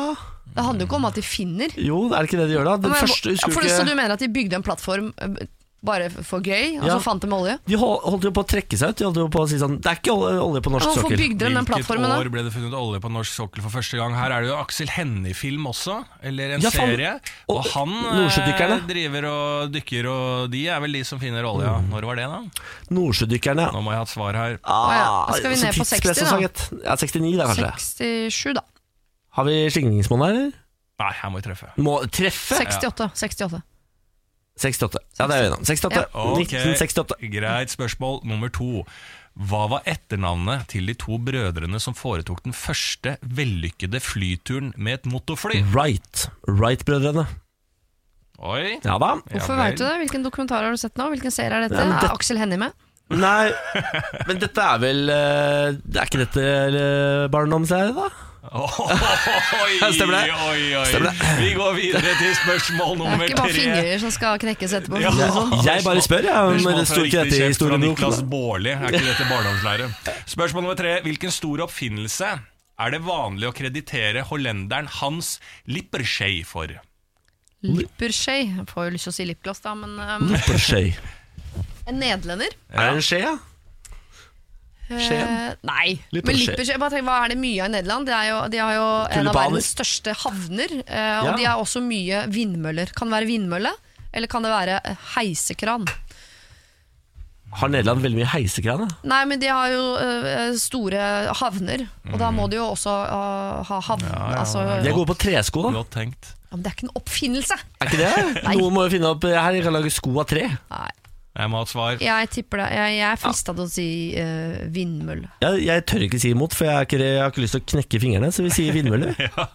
Det handler jo ikke om at de finner. Jo, er det ikke det de gjør da? Den Men- første, ja, husker for, du så ikke du mener at de bygde en plattform eh, bare for gøy, og Ja. så fant de olje? De hol- holdt jo på å trekke seg ut. De holdt jo på å si sånn Det er ikke ol- olje på norsk Hvorfor sokkel. bygde de den plattformen, da? år ble det funnet olje på norsk sokkel for første gang? Her er det jo Aksel Hennie-film også, eller en Ja, faen. serie. Og, Og han eh, Nordsjødykkerne. driver og dykker, og de er vel de som finner olja. Mm. Når var det, da? Nordsjødykkerne. Ah, Nå må jeg ha et svar her. ja. Da skal vi så ned på 60 tidspress og da. sånn, gitt. Ja, 69 da, kanskje. 67, da. Har vi slingringsmonn her, eller? Nei, her må vi treffe. Må treffe! 68. 68. 68. Ja, det er vi enige om. 68. Ok, 1968. Greit spørsmål nummer to. Hva var etternavnet til de to brødrene som foretok den første vellykkede flyturen med et motorfly? Mm. Right. Right-brødrene. Oi! Ja da. Hvorfor Ja, vet du det? Hvilken dokumentar har du sett nå? Hvilken serie er dette? Ja, men det- Er Aksel Hennie med? Nei, men dette er vel eh, Er ikke dette eh, barndomsserie, da? Oi, Stemmer det? Oi, oi. Stemmer Vi går videre til spørsmål Det er nummer ikke bare tre. fingrer som skal knekkes etterpå. Ja. for å si det sånn. Jeg bare spør, jeg. om Spørsmål Det fra sto ikke riktig dette i kjeft fra historieboka. Niklas Baarli. Er ikke dette barndomslære? Spørsmål nummer tre. Hvilken stor oppfinnelse er det vanlig å kreditere hollenderen Hans Lippershey for? Lipperskje. Jeg får jo lyst til å si lipgloss, da, men um, Lipperskje. En nederlender? Er det en skje, ja? Skien? Eh, nei. Men Lipperskje. Lipperskje, jeg bare tenker, Hva er det mye av i Nederland? Det er jo, de har jo en av Tulipaner. verdens største havner. eh, og Ja. de har også mye vindmøller. Kan det være vindmølle, eller kan det være eh, heisekran? Har Nederland veldig mye heisekran? da? Nei, men de har jo eh, store havner, og da Mm. må de jo også eh, ha havn... Altså, De er gode på tresko, da. Godt tenkt. ja, men det er ikke en oppfinnelse! Er ikke det? Noen må jo finne opp eh, Her jeg kan lage sko av tre. Nei, Jeg må ha et svar. jeg tipper det. Jeg, jeg er frista til å si eh, vindmølle. Jeg, jeg tør ikke si imot, for jeg, er ikke, jeg har ikke lyst til å knekke fingrene, så vi sier vindmøller. Ja.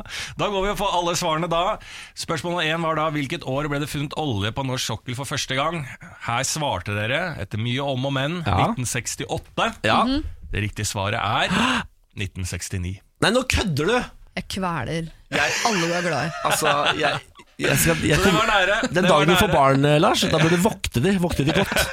Da går vi og får alle svarene da. Spørsmål nummer én var da hvilket år ble det funnet olje på norsk sokkel for første gang? Her svarte dere, etter mye om og men, Ja. 1968. Ja. Det riktige svaret er 1969. Nei, nå kødder du! Jeg kveler Jeg, alle du er glad i. altså, jeg, jeg skal jeg, Så det var nære. Den Det var dagen du får nære. barn, eh, Lars, da bør du vokte de, vokte de godt.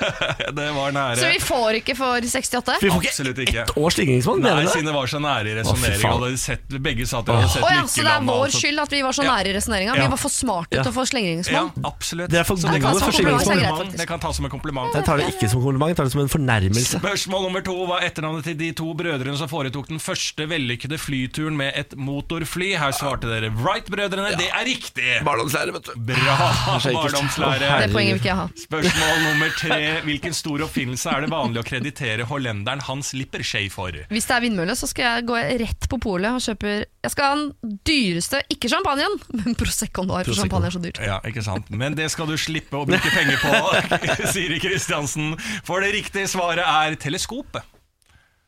Det var nære. Så vi får ikke for 68? Vi får Absolutt ikke ikke. ett års slingringsmonn, Nei, mener du det? siden det var så Å, nære i fy resonneringa. faen. Dere sett- Begge sa at dere hadde sett Å ja, så det er Lykkeland og vår alt sånt. skyld liksom. at vi var så Ja. nære i resonneringa. Ja. Vi var for smarte til Ja. å få Ja, slingringsmål. absolutt. Dere er for Så det gode kan for tas som en slingringsmål. kompliment. Det kan tas som en kompliment. Jeg tar det ikke som kompliment, jeg tar det som en fornærmelse. Spørsmål nummer to var etternavnet til de to brødrene som foretok den første vellykkede flyturen med et motorfly. Her svarte dere Wright-brødrene. Det er riktig! barndomslærer, vet du. Bra skjer ikke. barndomslære. Det poenget vil ikke jeg ha. Spørsmål nummer tre. Hvilken stor oppfinnelse er det vanlig å kreditere hollenderen Hans Lippershey for? Hvis det er vindmølle, så skal jeg gå rett på polet og kjøper Jeg skal ha den dyreste, ikke champagnen, men Proseccoen nå, for Prosecco. champagne er så dyrt. Ja, ikke sant? Men det skal du slippe å bruke penger på, Siri Kristiansen. For det riktige svaret er teleskopet.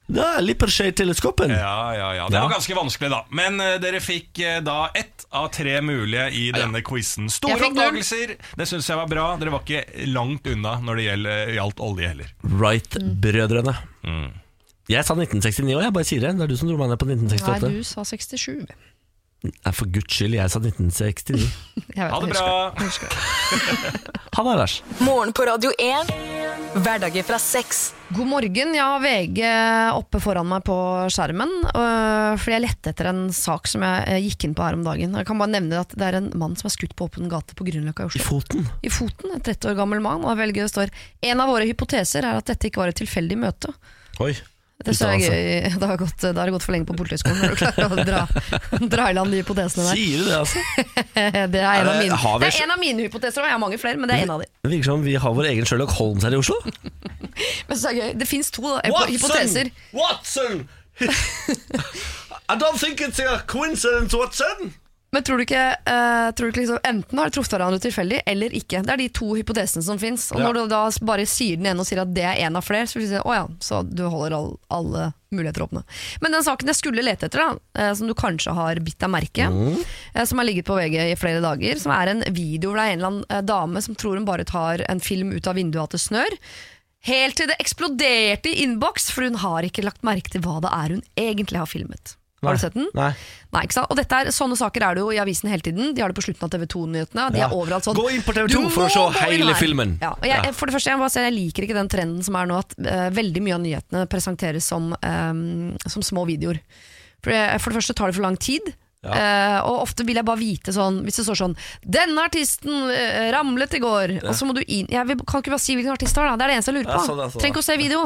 Ja, Lippershade-teleskopen. Ja, ja, ja. Det Ja. var ganske vanskelig, da. Men eh, dere fikk eh, da ett av tre mulige i denne quizen. Store Jeg fikk null. oppdagelser! Det syns jeg var bra. Dere var ikke langt unna når det gjelder- gjaldt olje heller. Mm. Wright-brødrene. Mm. Jeg sa 1969 år, jeg bare sier det. Det er du som dro meg ned på Nei, 1968. du sa 67. Nei, for guds skyld, jeg sa 1969. Jeg vet, Ha det jeg bra! husker Jeg husker det. Han er vers. Morgen på Radio 1. Hverdager fra seks. God morgen. Jeg har VG oppe foran meg på skjermen. øh, Fordi jeg lette etter en sak som jeg eh, gikk inn på her om dagen. Jeg kan bare nevne at Det er en mann som er skutt på åpen gate på Grünerløkka i Oslo. I foten. i foten, en 30 år gammel mann, og velger det står En av våre hypoteser er at dette ikke var et tilfeldig møte. Oi. Det synes jeg Utdannelse. er gøy. Da har jeg gått, da har jeg gått for lenge på Politihøgskolen når du klarer å dra, dra i land de hypotesene der. Sier du det, altså? Det er en av Er det- mine, har vi- Mm. det er en av mine hypoteser, og jeg har mange flere, men det er en av de. Det virker som vi har vår egen Sherlock Holmes her i Oslo. Men så er det gøy. Det fins to da, hypoteser. Watson! I don't think it's a coincidence, Watson! Men tror du ikke, eh, tror du ikke liksom, enten har de truffet hverandre tilfeldig eller ikke? Det er de to hypotesene som fins. Og Ja. når du da bare sier den ene og sier at det er en av flere, så vil du si å ja, så du holder all, alle muligheter åpne. Men den saken jeg skulle lete etter, da, eh, som du kanskje har bitt deg merke, Mm. eh, som har ligget på VG i flere dager, som er en video hvor det er en eller annen eh, dame som tror hun bare tar en film ut av vinduet at det snør. Helt til det eksploderte i innboks, for hun har ikke lagt merke til hva det er hun egentlig har filmet. Har du sett den? Nei. Nei, ikke sant? Og dette er, Sånne saker er det jo i avisen hele tiden. De har det på slutten av TV 2-nyhetene. De Ja. er overalt sånn Gå inn på TV2 «Du må for å se gå inn hele her!» filmen. Ja, og jeg, jeg- For det første, jeg, må bare si, jeg liker ikke den trenden som er nå at eh, veldig mye av nyhetene presenteres som, eh, som små videoer. For, det- for det første tar det for lang tid. eh, og ofte vil jeg bare vite sånn Hvis det står sånn 'Denne artisten eh, ramlet i går', og så må du inn Jeg vil, kan ikke bare si hvilken artist det er, da. Det er det eneste jeg lurer på. Ja, sånn, ja, sånn, Trenger ikke å se video.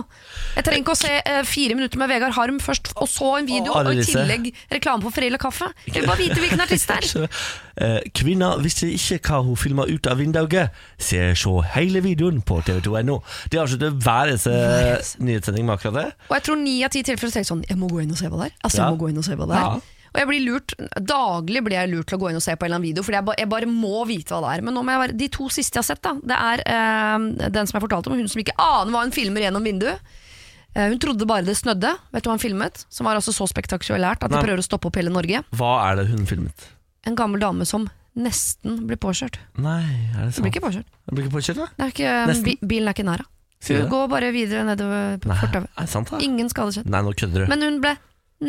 Jeg trenger ikke å se eh, fire minutter med Vegard Harm først, og så en video, Å, og i Annelise. tillegg reklame for Friele kaffe. Jeg vil bare vite hvilken artist det er. Eh, Kvinna visste ikke hva hun filma ut av vinduet. Se, se hele videoen på tv2.no. De avslutter hver eneste nyhetssending med akkurat det. Og jeg tror ni av ti tilfeller tenker sånn Jeg må gå inn og se hva det er. Altså, Ja. jeg må gå inn og se hva det er. Og jeg blir lurt, Daglig blir jeg lurt til å gå inn og se på en eller annen video, Fordi jeg, ba, jeg bare må vite hva det er. Men nå må jeg være, de to siste jeg har sett, da det er eh, den som jeg fortalte om, hun som ikke aner hva hun filmer gjennom vinduet. Eh, hun trodde bare det snødde. Vet du hva hun filmet? Som var altså så spektakulært at de Nei. prøver å stoppe opp hele Norge. Hva er det hun filmet? En gammel dame som nesten blir påkjørt. Nei, er det Hun sant? blir ikke påkjørt. Jeg blir ikke påkjørt, da? Det er ikke, eh, Nesten. bi, bilen er ikke nær henne. Sier du det? Gå bare videre nedover på Nei, er fortauet. det sant, da? Ingen skadeskjedd. Nei, nå kødder du. Men hun ble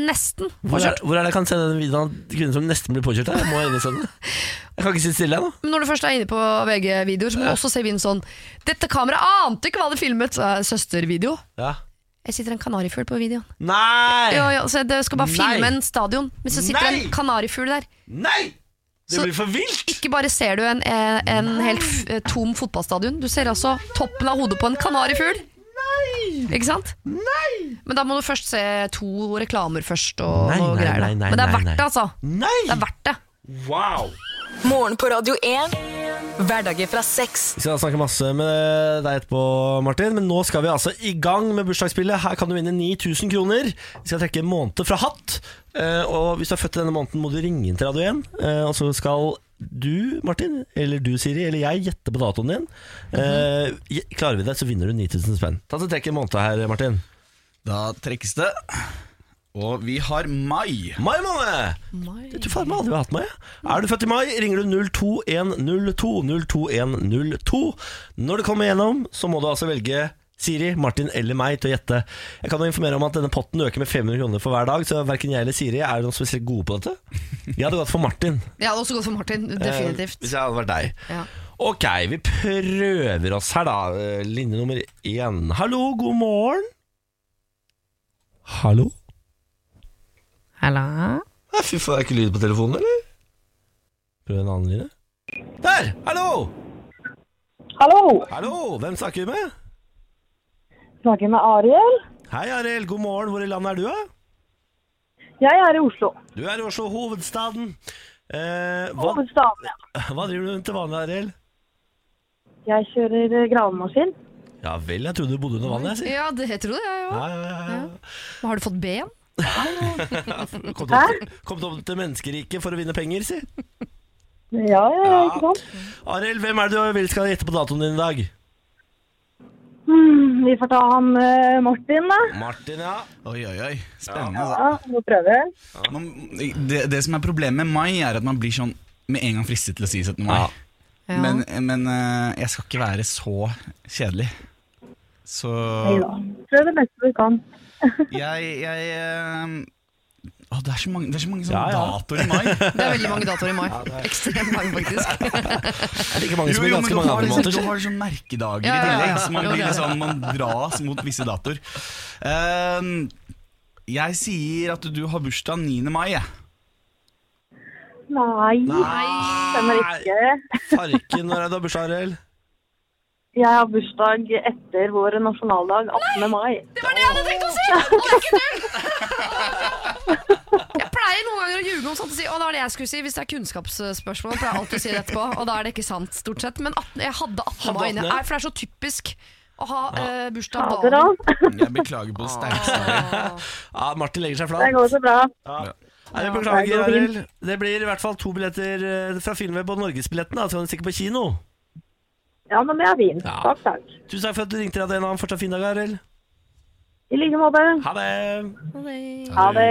nesten Hvor påkjørt. er, hvor er det jeg kan se den videoen av kvinner som nesten blir påkjørt? da? Jeg må inn og se den. Jeg kan ikke sitte stille, jeg nå. Men når du først er inne på VG-videoer, så må du også se videoen sånn 'Dette kameraet ante ikke hva det filmet!' Så er det Søstervideo. Ja. Jeg sitter en kanarifugl på videoen. Nei! Jo, jo, så jeg skal bare Nei. filme en stadion, men så sitter Nei. en kanarifugl der. Nei! Så- Det blir for vilt! Ikke bare ser du en, en, en helt f- eh, tom fotballstadion, du ser altså toppen av hodet på en kanarifugl. Ikke sant? Men da må du først se to reklamer først og Nei, noe nei, greier. da. nei, nei, Men det er nei, verdt det, nei. altså. Nei! Det er verdt det. Wow! Morgen på Radio 1. Hverdager fra seks. Vi skal snakke masse med deg etterpå, Martin, men nå skal vi altså i gang med bursdagsspillet. Her kan du vinne 9000 kroner. Vi skal trekke en måned fra hatt. Eh, Og hvis du er født i denne måneden, må du ringe inn til Radio 1. eh, Og så skal du, Martin, eller du, Siri, eller jeg gjette på datoen din. Eh, je- Klarer vi det, så vinner du 9000 spenn. Ta så Trekk en måned her, Martin. Da trekkes det. Og vi har mai. Mai måned! Du faen meg aldri har hatt meg. jeg. Er du født i mai, ringer du 02102 02102. Når det kommer gjennom, så må du altså velge Siri, Martin eller meg til å gjette. Jeg kan jo informere om at denne potten øker med 500 kroner for hver dag, så verken jeg eller Siri er noen spesielt gode på dette. Jeg hadde gått for Martin. Jeg hadde også gått for Martin. Eh, Hvis Definitivt. jeg hadde vært deg. Ja. Ok, vi prøver oss her, da. Eh, Linje nummer én. Hallo, god morgen. Hallo? Hallo? Nei, Fy faen, det er ikke lyd på telefonen, eller? Prøv en annen linje. Der! Hallo! Hallo, Hallo! Hvem snakker vi med? snakker med Ariel. Hei, Arild. God morgen. Hvor i landet er du, da? Jeg er i Oslo. Du er i Oslo hovedstaden. Eh, hva, Og Stavia. hva driver du med til vanlig, Arild? Jeg kjører eh, gravemaskin. Ja vel, jeg trodde du bodde under vannet, jeg sier. Ja, det jeg tror det, jeg Ja, òg. ja, ja, ja. Men Har du fått ben? Kom til, opp, til- kom til opp til menneskeriket for å vinne penger, si. Ja, ja, ja, ikke sant? Arild, hvem er det du vil skal gjette på datoen din i dag? Hmm, vi får ta han eh, Martin, da. Martin, ja. Oi, oi, oi. Spennende. altså. Ja, må prøve. Man, det, det som er problemet med mai, er at man blir sånn med en gang fristet til å si 17. mai. Ja. Ja. Men, men eh, jeg skal ikke være så kjedelig. Så Ja. Prøv det beste du kan. jeg, jeg eh, å, det, er så mange, det er så mange sånne Ja, ja. datoer i mai. Det er veldig mange datoer i mai. Ekstremt mange, faktisk. Det er like mange Jo, som i jo, men ganske du mange har, andre liksom, du måneder. har sånn merkedager Ja, i ja, tillegg, ja. så man Jo, blir det er liksom, man dras mot visse datoer. Eh, jeg sier at du har bursdag 9. mai, jeg. Nei, stemmer ikke. Farken, når er det du har bursdag, Arild? Jeg har bursdag etter vår nasjonaldag, 18. mai. Jeg pleier noen ganger å ljuge om sånt og si å, det var det jeg skulle si hvis det er kunnskapsspørsmål. Pleier jeg alltid å si det etterpå, og da er det ikke sant, stort sett. Men 18, jeg hadde 18 Hadde mai inne. 18, ja. Nei, For det er så typisk å ha eh, bursdag Fader, dagen. da. Jeg beklager Ah. på det sterkeste. Ja, Martin legger seg Det flat. går så bra. Nei, jeg det beklager, går fint. Arild. Det blir i hvert fall to billetter eh, fra Filmweb og Norgesbilletten. da, Så kan du stikke på kino. Ja, men det er fint. Ja. Takk, takk. Tusen takk for at du ringte. Deg, en fortsatt fin dag, Arild. I like måte. Ha det! Ha det.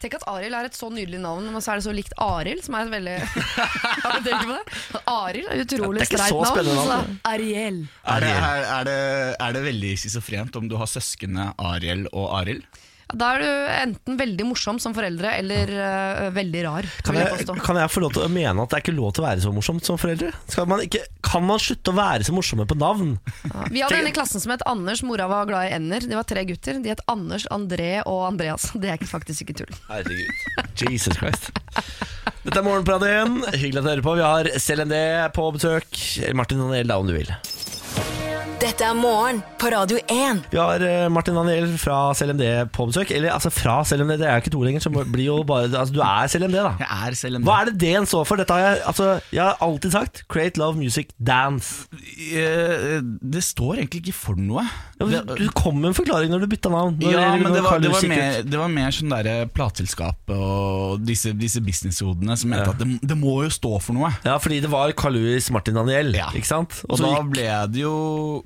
Tenk at Arild er et så nydelig navn, men så er det så likt Arild, som er et veldig Har du tenkt på det? Arild er Ja, et utrolig det er ikke streit så navn. spennende navn, så Ariel. Er det, er, er, det, er det veldig schizofrent om du har søskene Ariel og Arild? Ja, Da er du enten veldig morsom som foreldre, eller eh, veldig rar. Kan vil jeg jeg, påstå. kan jeg få lov til å mene at det er ikke lov til å være så morsomt som foreldre? Skal man ikke, kan man slutte å være så morsomme på navn? Ja. Vi hadde en i klassen som het Anders, mora var glad i ender. Det var tre gutter. De het Anders, André og Andreas. Det er ikke- faktisk ikke tull. Herregud. Jesus Christ. Dette er Morgenpradien. Hyggelig at du hører på. Vi har CLND på besøk. Martin Daniel, da, om du vil. Dette er morgen på Radio 1. Vi har eh, Martin Daniel fra CLMD på besøk. Eller altså fra CLMD, det er jo ikke to lenger. Så blir jo bare, altså, du er CLMD, da. Jeg er selv en Hva er det D-en står for? Dette har jeg, altså, jeg har alltid sagt Create Love Music Dance. Eh, Det står egentlig ikke for noe. Ja, men Det- du kom med en forklaring når du bytta navn. Når- ja, eller men når det var, Carl det var, Lewis gikk mer, ut. det var mer sånn derre plateselskapet og disse, disse businesshodene som mente Ja. at det, det må jo stå for noe. Ja, fordi det var Carl Louis Martin Daniel, Ja. ikke sant? Og så da gikk- ble det jo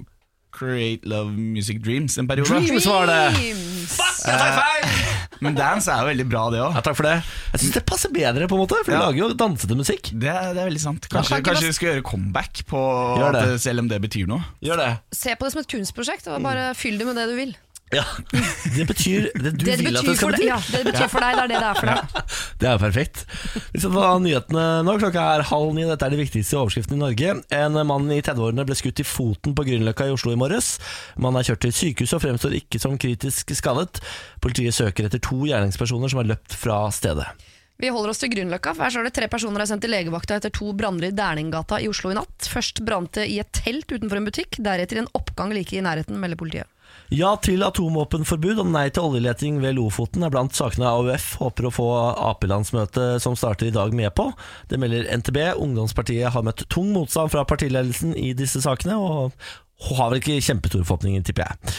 Create Love Music Dreams en periode. Dreams var det! Dreams. Jeg tar feil! Men dance er jo veldig bra, det òg. Ja, takk for det. Jeg syns det passer bedre, på en måte, for de Ja. lager jo dansete musikk. Det, er- det er veldig sant. Kanskje, kan ikke kanskje bare- vi skal gjøre comeback på Gjør at, det. eh, selv om det betyr noe. Gjør det. Se på det som et kunstprosjekt, og bare fyll det med det du vil. Ja. Det betyr det du Det det vil at det betyr skal for deg, bety. ja, det det betyr for deg, det er det det er for deg. Det er jo perfekt. Vi skal ta nyhetene nå. Klokka er halv ni. Dette er de viktigste overskriftene i Norge. En mann i 30-årene ble skutt i foten på Grünerløkka i Oslo i morges. Mannen er kjørt til sykehuset og fremstår ikke som kritisk skadet. Politiet søker etter to gjerningspersoner som har løpt fra stedet. Vi holder oss til Grünerløkka. for Her står det tre personer er sendt til legevakta etter to branner i Derninggata i Oslo i natt. Først brant det i et telt utenfor en butikk, deretter i en oppgang like i nærheten, melder politiet. Ja til atomvåpenforbud og nei til oljeleting ved Lofoten er blant sakene AUF håper å få Ap-landsmøtet som starter i dag med på. Det melder NTB. Ungdomspartiet har møtt tung motstand fra partiledelsen i disse sakene, og har vel ikke kjempestore forhåpninger, tipper jeg.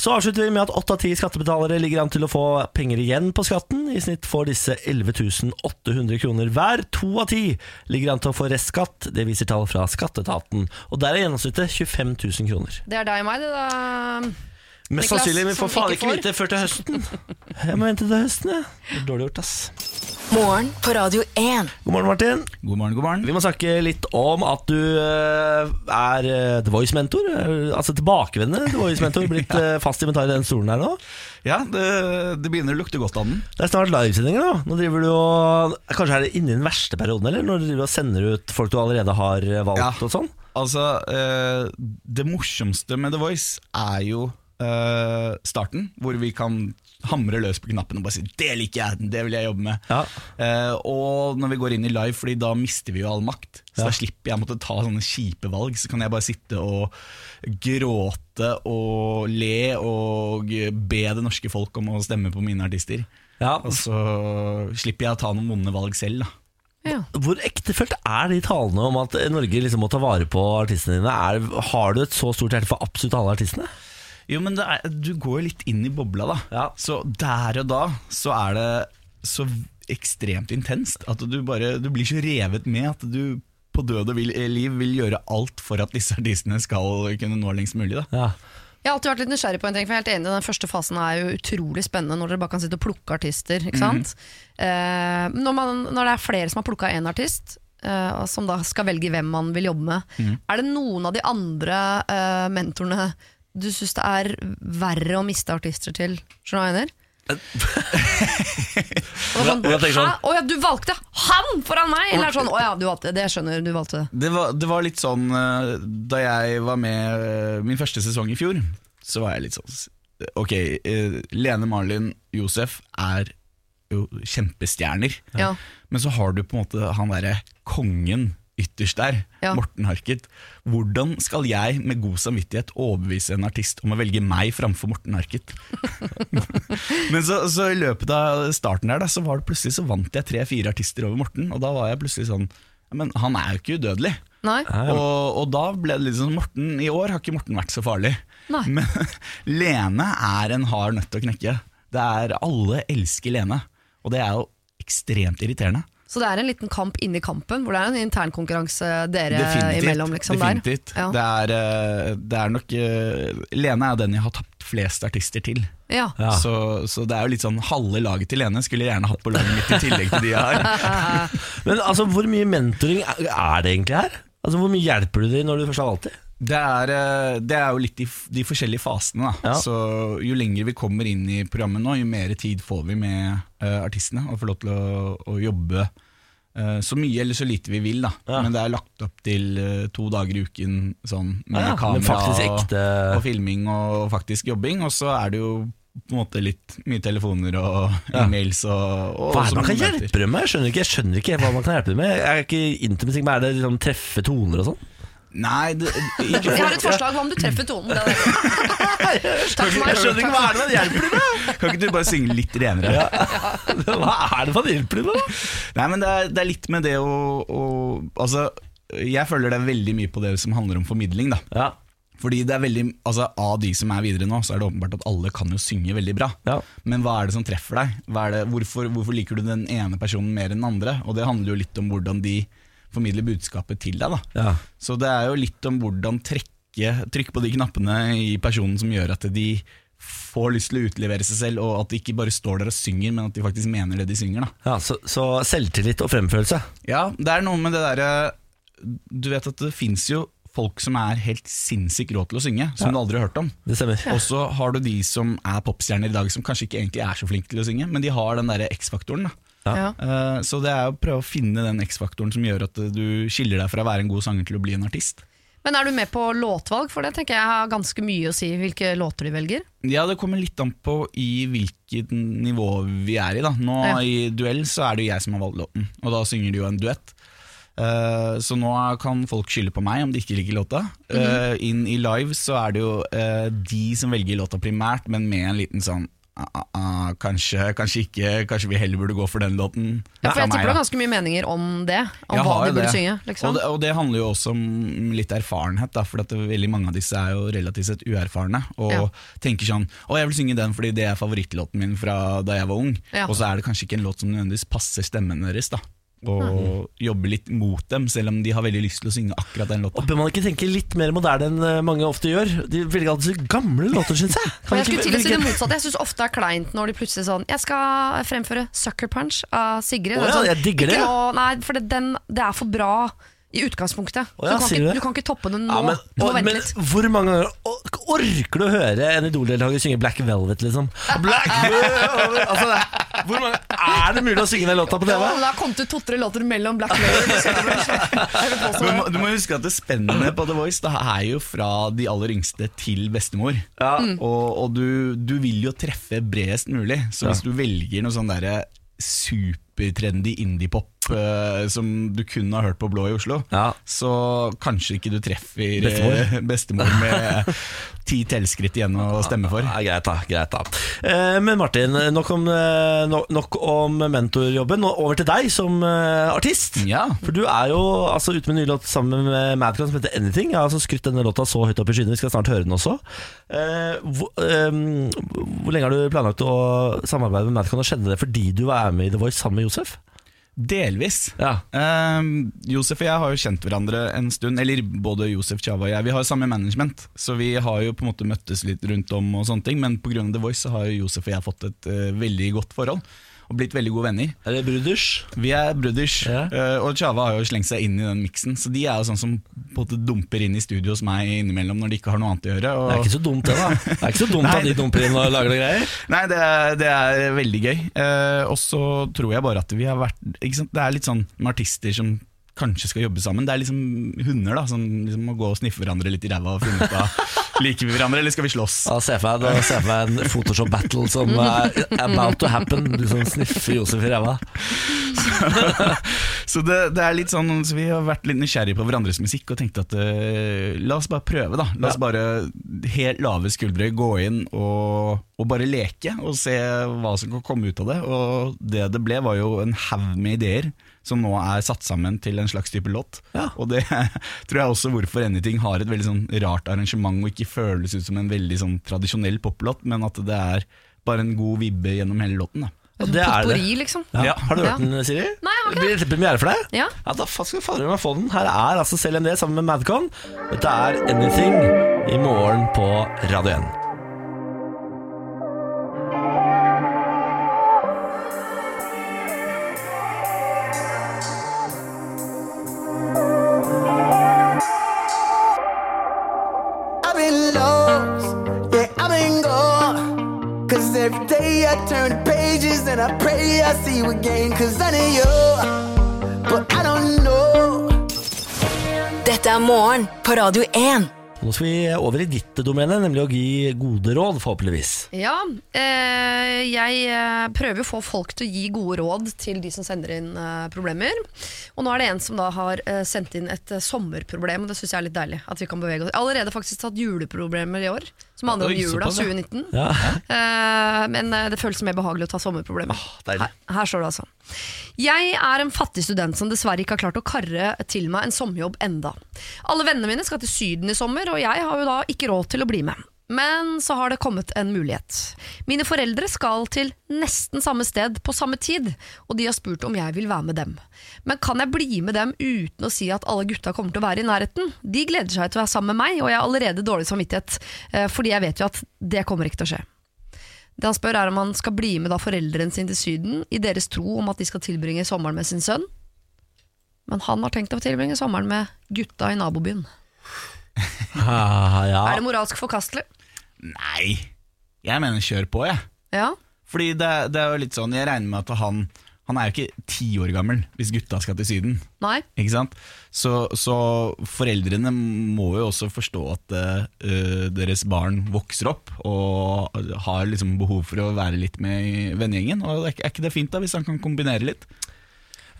Så avslutter vi med at åtte av ti skattebetalere ligger an til å få penger igjen på skatten. I snitt får disse 11 800 kroner hver. To av ti ligger an til å få restskatt, det viser tall fra skatteetaten. Og der er gjennomsnittet 25 000 kroner. Det er deg og meg, det da. Mest Niklas, sannsynlig, men vi som får faen ikke ikke får. vite før til høsten. Jeg må vente til høsten, jeg. Det er Dårlig gjort, ass. Morgen på Radio 1. God morgen, Martin. God morgen, god morgen. Vi må snakke litt om at du eh, er eh, The Voice-mentor. eh, Altså tilbakevendende The Voice-mentor. Blitt eh, fast inventar i den stolen her nå. Ja, det, det begynner å lukte godt av den. Det er snart livesendinger nå. Nå driver du og Kanskje er det inne i den verste perioden, eller? Når du driver og sender ut folk du allerede har eh, valgt Ja. og sånn? Altså, eh, det morsomste med The Voice er jo eh, starten, hvor vi kan hamre løs på knappen og bare si 'det liker jeg, det vil jeg jobbe med'. Ja. Eh, og når vi går inn i live, Fordi da mister vi jo all makt. Så Ja. da slipper jeg å måtte ta sånne kjipe valg. Så kan jeg bare sitte og gråte og le og be det norske folk om å stemme på mine artister. Ja, Og så slipper jeg å ta noen vonde valg selv, da. Ja. Hvor ektefølt er de talene om at Norge liksom må ta vare på artistene dine? Er, har du et så stort hjerte for absolutt alle artistene? Jo, men det er, du går jo litt inn i bobla, da. Ja. Så der og da så er det så ekstremt intenst at du bare Du blir så revet med at du på død og vil, eh, liv vil gjøre alt for at disse artistene skal kunne nå lengst mulig. da Ja. Jeg har alltid vært litt nysgjerrig på en ting, for jeg er helt enig Den første fasen er jo utrolig spennende når dere bare kan sitte og plukke artister. Ikke sant? Eh, når, man, når det er flere som har plukka én artist, eh, og som da skal velge hvem man vil jobbe med, er det noen av de andre eh, mentorene du syns det er verre å miste artister til? Skjønner du hva jeg mener? Og sånn, Og jeg tenker sånn- Hæ? Å ja, du valgte han foran meg! Eller er det sånn, å ja, du valgte, det skjønner du valgte det. Det var, det var litt sånn eh, Da jeg var med eh, min første sesong i fjor, så var jeg litt sånn s- Ok, eh, Lene Marlin Josef er jo kjempestjerner, Ja. men så har du på en måte han derre kongen ytterst der, Ja. Morten Harket. Hvordan skal jeg med god samvittighet overbevise en artist om å velge meg framfor Morten Harket? men så, så i løpet av starten der, da, så var det plutselig så vant jeg tre-fire artister over Morten, og da var jeg plutselig sånn «Ja, Men han er jo ikke udødelig. Nei? Og, og da ble det litt sånn Morten, I år har ikke Morten vært så farlig. Nei. Men Lene er en hard nøtt å knekke. Det er Alle elsker Lene, og det er jo ekstremt irriterende. Så det er en liten kamp inni kampen, hvor det er en internkonkurranse dere Definitivt. imellom? Liksom, definitivt. Der. Det, er, eh, det er nok eh, Lene er den jeg har tapt flest artister til. Ja. Ja. Ja. Så, så det er jo litt sånn halve laget til Lene skulle jeg gjerne hatt på laget mitt i tillegg til de jeg har. Men altså, hvor mye mentoring er er det egentlig her? Altså, Hvor mye hjelper du dem når du først har valgt dem? Det er, eh, det er jo litt de, f- de forskjellige fasene. Da. Ja. Så Jo lenger vi kommer inn i programmet nå, jo mer tid får vi med eh, artistene. Og får lov til å, å jobbe eh, så mye eller så lite vi vil. Da. Ja. Men det er lagt opp til eh, to dager i uken sånn, med Ja, ja, men kamera faktisk og, ekte- og filming og faktisk jobbing. Og så er det jo på en måte litt mye telefoner og e-mails. Og, og Hva er også det man kan møter. hjelpe dem med? Jeg skjønner ikke, jeg skjønner ikke helt hva man kan hjelpe dem med. Jeg er ikke intim, men Er det liksom treffe toner og sånn? Nei, det, ikke Jeg har et forslag hva om du treffer tonen. Det er det. Takk for meg. er det man hjelper dem med! Kan ikke du bare synge litt renere? Hva er det man hjelper dem med? Nei, men det er, det er litt med det å, å Altså, jeg føler det er veldig mye på det som handler om formidling, da. Ja, Fordi det er veldig Altså, av de som er videre nå, så er det åpenbart at alle kan jo synge veldig bra. Ja. Men hva er det som treffer deg? Hva er det, hvorfor, hvorfor liker du den ene personen mer enn den andre? Og det handler jo litt om hvordan de formidler budskapet til deg, da. ja. Så det er jo litt om hvordan trekke Trykke på de knappene i personen som gjør at de får lyst til å utlevere seg selv, og at de ikke bare står der og synger, men at de faktisk mener det de synger, da. ja så, så selvtillit og fremførelse. Ja, det er noe med det derre Du vet at det fins jo folk som er helt sinnssykt rå til å synge, som du aldri har hørt om. Det stemmer. Og så har du de som er popstjerner i dag, som kanskje ikke egentlig er så flinke til å synge, men de har den derre X-faktoren. da. Ja. Eh, Så det er å prøve å finne den X-faktoren som gjør at du skiller deg fra å være en god sanger til å bli en artist. Men er du med på låtvalg? For det tenker jeg har ganske mye å si hvilke låter de velger. Ja, det kommer litt an på i hvilket nivå vi er i. da Nå Ja. i duell så er det jo jeg som har valgt låten, og da synger de jo en duett. Eh, så nå kan folk skylde på meg om de ikke liker låta. Mhm. Eh, inn i live så er det jo eh, de som velger låta primært, men med en liten sånn ah, ah, ah, kanskje, kanskje ikke, kanskje vi heller burde gå for den låten. Ja, for Fra jeg meg, tipper du da. har ganske mye meninger om det. Om Jeg hva har de jo burde det. synge. Liksom. Og, det, og det handler jo også om litt erfarenhet, da, for at det, veldig mange av disse er jo relativt sett uerfarne. Og Ja. tenker sånn Å, jeg vil synge den fordi det er favorittlåten min fra da jeg var ung. Ja. Og så er det kanskje ikke en låt som nødvendigvis passer stemmen deres. da og Mm. jobber litt mot dem, selv om de har veldig lyst til å synge akkurat den låta. Og Bør man ikke tenke litt mer moderne enn eh, mange ofte gjør? De velger alltid så gamle låter, syns jeg. Kan vi Men jeg ikke skulle til å si velge- det motsatte. Jeg syns ofte det er kleint når de plutselig sånn Jeg skal fremføre Sucker Punch av Sigrid. Å Det er ja, sånn, jeg digger det, ikke ja. nå- nei, for det, den, det er for bra i utgangspunktet. Å ja, du, kan sier du ikke, det? du kan ikke toppe den nå. Ja, men, du må og, vente men litt. hvor mange ganger or- orker du å høre en Idol-deltaker synge Black Velvet, liksom? Black Velvet altså, det- hvor mange, Er det mulig å synge den låta på Ja, TV? men det har kommet ut to-tre låter mellom Black Lady og Sucker Punch. Jeg vil påstå Du det. må, du må huske at det spennende på The Voice da, er jo fra de aller yngste til bestemor. Og, og du, du vil jo treffe bredest mulig, så hvis du velger noe sånn derre supertrendy indie-pop eh, som du kun har hørt på Blå i Oslo, Ja. så kanskje ikke du treffer eh, Bestemor. bestemor med ti tellskritt igjen å stemme for. Ja, greit da, greit da. Eh, Men Martin, nok om, eh, no- nok om mentorjobben. Nå over til deg som eh, artist. Ja. For du er jo altså, ute med en ny låt sammen med Madcon som heter 'Anything'. Jeg har altså skrytt denne låta så høyt opp i skyene, vi skal snart høre den også. Eh, hvor, eh, hvor lenge har du planlagt å samarbeide med Madcon, og skjedde det fordi du var med i The Voice sammen med Josef? Delvis. Ja. Ehm, Josef og jeg har jo kjent hverandre en stund, eller både Josef Chava og jeg. Vi har samme management, så vi har jo på en måte møttes litt rundt om, og sånne ting men pga. The Voice så har jo Josef og jeg fått et eh, veldig godt forhold. Og blitt veldig gode venner. Er det bruders? Vi er brothers, Ja. eh, og Chava har jo slengt seg inn i den miksen. Så de er jo sånn som på en måte dumper inn i studio hos meg innimellom når de ikke har noe annet å gjøre. Og Det er ikke så dumt det, da. Det er ikke så dumt Nei. at de dumper inn og lager noe greier. Nei, det er, det er veldig gøy. Eh, og så tror jeg bare at vi har vært ikke sant? Det er litt sånn med artister som kanskje skal jobbe sammen. Det er liksom hunder da som liksom må gå og sniffe hverandre litt i ræva og finne ut av liker vi hverandre eller skal vi slåss. Ja, se for deg, se for deg en Photoshop-battle som er about to happen. Du som sniffer Josef i ræva. Så det, det er litt sånn så Vi har vært litt nysgjerrige på hverandres musikk og tenkte at eh, la oss bare prøve, da. La oss bare helt lave skuldre gå inn og, og bare leke og se hva som kan komme ut av det. Og det det ble, var jo en haug med ideer som nå er satt sammen til en slags type låt. Ja. Og det tror jeg også hvorfor Anything har et veldig sånn rart arrangement og ikke føles ut som en veldig sånn tradisjonell poplåt, men at det er bare en god vibbe gjennom hele låten. da Og det er det. Potpourri, liksom. Ja. Har du Ja. hørt den, Siri? Nei, jeg har ikke Blir dette premiere for deg? Ja. da faen skal fader meg få den. Her er altså CLMD sammen med Madcon. Dette er Anything i morgen på Radio 1. I've been lost, yeah, I've been gone. Cause every day I turn pages and I pray I see you again. Cause I need you, but I don't know. Dette er morgen på Radio 1. Nå skal vi over i ditt domene, nemlig å gi gode råd, forhåpentligvis. Ja, eh, jeg eh, prøver å få folk til å gi gode råd til de som sender inn eh, problemer. Og nå er det en som da har eh, sendt inn et eh, sommerproblem, og det syns jeg er litt deilig. At vi kan bevege oss. Jeg har Allerede faktisk tatt juleproblemer i år, som handler om Oi, jula såpass, ja. 2019. Ja. Eh, men eh, det føles mer behagelig å ta sommerproblemer. deilig. her, her står det altså. Jeg er en fattig student som dessverre ikke har klart å karre til meg en sommerjobb enda. Alle vennene mine skal til Syden i sommer, og jeg har jo da ikke råd til å bli med. Men så har det kommet en mulighet. Mine foreldre skal til nesten samme sted på samme tid, og de har spurt om jeg vil være med dem. Men kan jeg bli med dem uten å si at alle gutta kommer til å være i nærheten? De gleder seg til å være sammen med meg, og jeg har allerede dårlig samvittighet, eh, fordi jeg vet jo at det kommer ikke til å skje. Det han spør er om han skal bli med da foreldrene sine til Syden i deres tro om at de skal tilbringe sommeren med sin sønn. Men han har tenkt å tilbringe sommeren med gutta i nabobyen. Ah, ja. Er det moralsk forkastelig? Nei, jeg mener kjør på, jeg. Ja. Fordi det, det er jo litt sånn, jeg regner med at han Han er jo ikke ti år gammel hvis gutta skal til Syden. Nei. Ikke sant? Så, så foreldrene må jo også forstå at eh, deres barn vokser opp og har liksom behov for å være litt med i vennegjengen. Og er ikke- er ikke det fint da hvis han kan kombinere litt?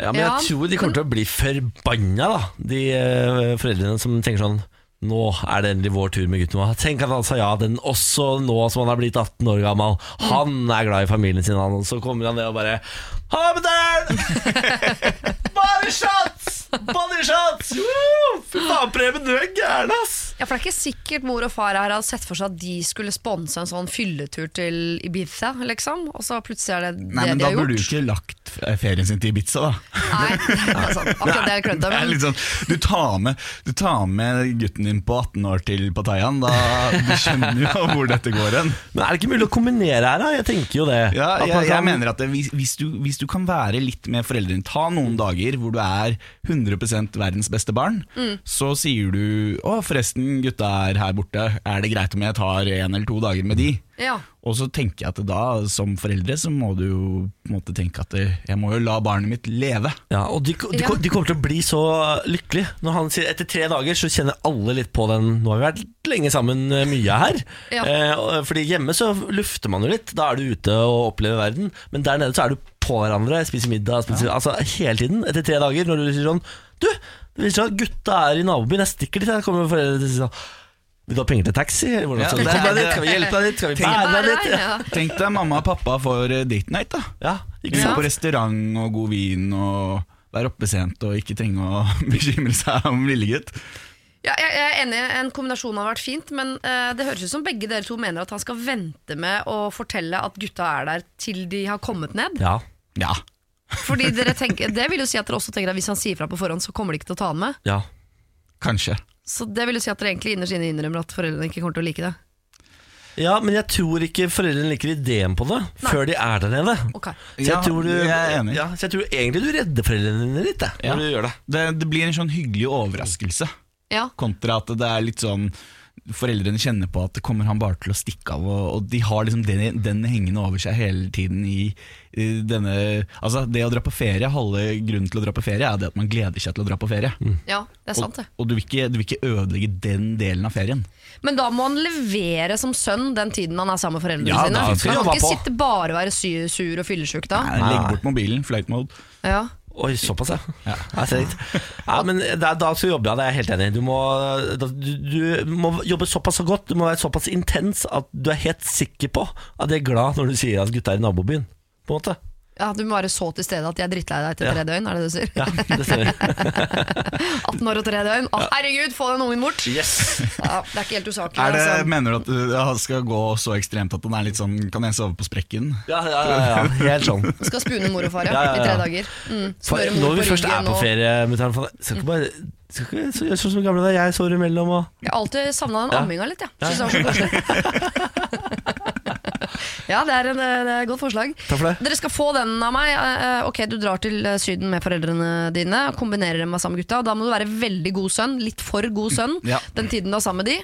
Ja, men Ja, jeg tror de kommer til å bli forbanna, da. De eh, foreldrene som tenker sånn Nå er det endelig vår tur med gutten vår. Tenk at han sa ja den også nå som han er blitt 18 år gammel. Han er glad i familien sin, han. Og så kommer han ned og bare Ha med den! Bare shots! Bare shots! Woo! Fy faen, Preben, du er gæren, ass! Ja, for Det er ikke sikkert mor og far her hadde sett for seg at de skulle sponse en sånn fylletur til Ibiza, liksom. Og så plutselig er det det Nei, men de Da har burde du gjort. ikke lagt eh, ferien sin til Ibiza, da. Nei, det er sant. Akkurat det er klønete. Det er men- litt sånn, du, tar med, du tar med gutten din på 18 år til Pattayaen, da du skjønner jo hvor dette går hen. Men er det ikke mulig å kombinere her, da? Jeg tenker jo det. Ja, At man jeg, jeg kan- mener at det, hvis, hvis, du, hvis du kan være litt med foreldrene Ta noen Mm. dager hvor du er 100 verdens beste barn, så sier du Å, forresten, gutta er her borte, er det greit om jeg tar en eller to dager med de? Ja. Og så tenker jeg at da, som foreldre, så må du jo på en måte tenke at eh, jeg må jo la barnet mitt leve. Ja, og de, de, Ja. kom- de kommer til å bli så lykkelige. Når han sier Etter tre dager så kjenner alle litt på den Nå har vi vært lenge sammen eh, mye her. Ja. Eh, og- fordi hjemme så lufter man jo litt. Da er du ute og opplever verden. Men der nede så er du på hverandre, spiser middag spiser, Altså hele tiden. Etter tre dager, når du sier sånn Du, det viser seg at gutta er i nabobyen, jeg stikker dit. Jeg kommer foreldrene til å si sånn Vil du ha penger til taxi? Hvordan skal vi Ja. komme deg dit? Skal vi hjelpe deg dit? Skal vi bære Nei, deg nei, dit? Ja. ja. Tenk deg mamma og pappa for eh, date night, da. Ja, Gå ikke sant? Ja. på restaurant og god vin og være oppe sent og ikke trenge å bekymre seg om lillegutt. Ja, jeg, jeg er enig, En kombinasjon hadde vært fint, men eh, det høres ut som begge dere to mener at han skal vente med å fortelle at gutta er der til de har kommet ned. Ja. Ja. Fordi dere tenker, Det vil jo si at dere også tenker at hvis han sier fra på forhånd, så kommer de ikke til å ta han med. ja. Kanskje. Så det vil jo si at dere egentlig innerst inne innrømmer at foreldrene ikke kommer til å like det. Ja, men jeg tror ikke foreldrene liker ideen på det før de er der nede. Ok. Så jeg, Ja, tror du, jeg er enig. Ja, så jeg tror egentlig du redder foreldrene dine litt jeg, Ja. når du gjør det. Det, det blir en sånn hyggelig overraskelse, Ja, kontra at det er litt sånn Foreldrene kjenner på at det kommer han bare til å stikke av, og, og de har liksom den, den hengende over seg hele tiden i, i denne Altså, det å dra på ferie, halve grunnen til å dra på ferie, er det at man gleder seg til å dra på ferie. ja, det er Mm. sant, Og, det. og du, vil ikke, du vil ikke ødelegge den delen av ferien. Men da må han levere som sønn den tiden han er sammen med foreldrene Ja, sine. da Han skal kan jobba ikke på. sitte bare og være sy- sur og fyllesyk da. Nei, Legg bort mobilen, flight mode. Ja. Oi, såpass, ja. ja. så litt. ja men da, da skal du jobbe, ja, det er jeg helt enig i. Du, må- da- du, du må jobbe såpass så godt, du må være såpass intens at du er helt sikker på at de er glad når du sier at gutta er i nabobyen. På en måte. ja, Du må være så til stede at jeg er drittlei deg etter Ja. tre døgn, er det det du sier? Ja, det stemmer. 18 år og tre døgn. Å, herregud, få den ungen bort! Ja, det er ikke helt usaklig. Er det, altså. mener du at uh, det skal gå så ekstremt at den er litt sånn Kan jeg sove på sprekken? Ja, ja, ja, ja. Helt sånn. Skal spune mor og far ja, Ja, ja, ja. i tre dager. Mm. Smøre mor Når vi på først er ryggen på og- ferie, mutter'n, faen, skal ikke bare skal ikke så- gjøre sånn som gamle da jeg sover imellom og Jeg har alltid savna den Ja. amminga litt, jeg. Synes det var så koselig. ja, det er, en, eh, det er et godt forslag. Takk for det. Dere skal få den av meg. Eh, eh, Ok, Du drar til eh, Syden med foreldrene dine og kombinerer dem med samme gutta. og Da må du være veldig god sønn, litt for god sønn, Ja. den tiden du er sammen med de.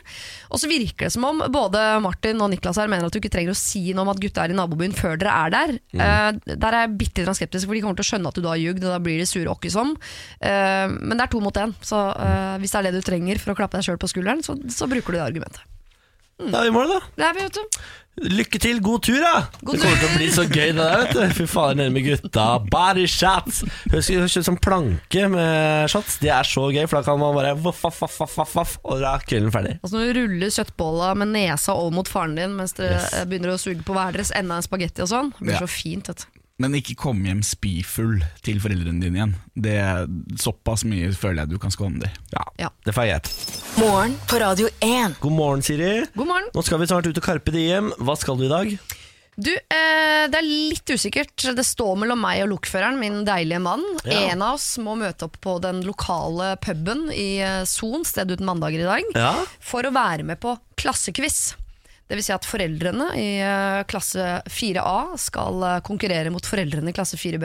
Og så virker det som om både Martin og Niklas her mener at du ikke trenger å si noe om at gutta er i nabobyen før dere er der. Mm. Eh, Der er jeg bitte litt skeptisk, for de kommer til å skjønne at du da har ljugd, og da blir de sure åkke som. Eh, Men det er to mot én, så eh, hvis det er det du trenger for å klappe deg sjøl på skulderen, så, så bruker du det argumentet. Da er vi i mål, da. Det er vi, vet du. Lykke til, god tur da God Det kommer til å bli så gøy det der, vet du Fy faen, nede med gutta Body shots Høres høres ut som planke med shots Det er så gøy, for da kan man bare voff, voff, voff, voff, voff, voff, Og da er kvelden ferdig Altså Når du ruller kjøttbolla med nesa over mot faren din mens dere Yes. eh, begynner å suge på hver deres ende av en spagetti og sånn, det blir Ja. så fint. vet du. Men ikke kom hjem spyfull til foreldrene dine igjen. Det er Såpass mye føler jeg du kan skåne dem. Ja, Ja. det får jeg gjøre. Morgen på Radio 1. God morgen, Siri God morgen. Nå skal vi snart ut og karpe det hjem Hva skal du i dag? Du, eh, det er litt usikkert. Det står mellom meg og lokføreren, min deilige mann. Ja. En av oss må møte opp på den lokale puben i eh, Son, sted uten mandager i dag, Ja for å være med på klassekviss. Det vil si at foreldrene i eh, klasse 4A skal eh, konkurrere mot foreldrene i klasse 4B.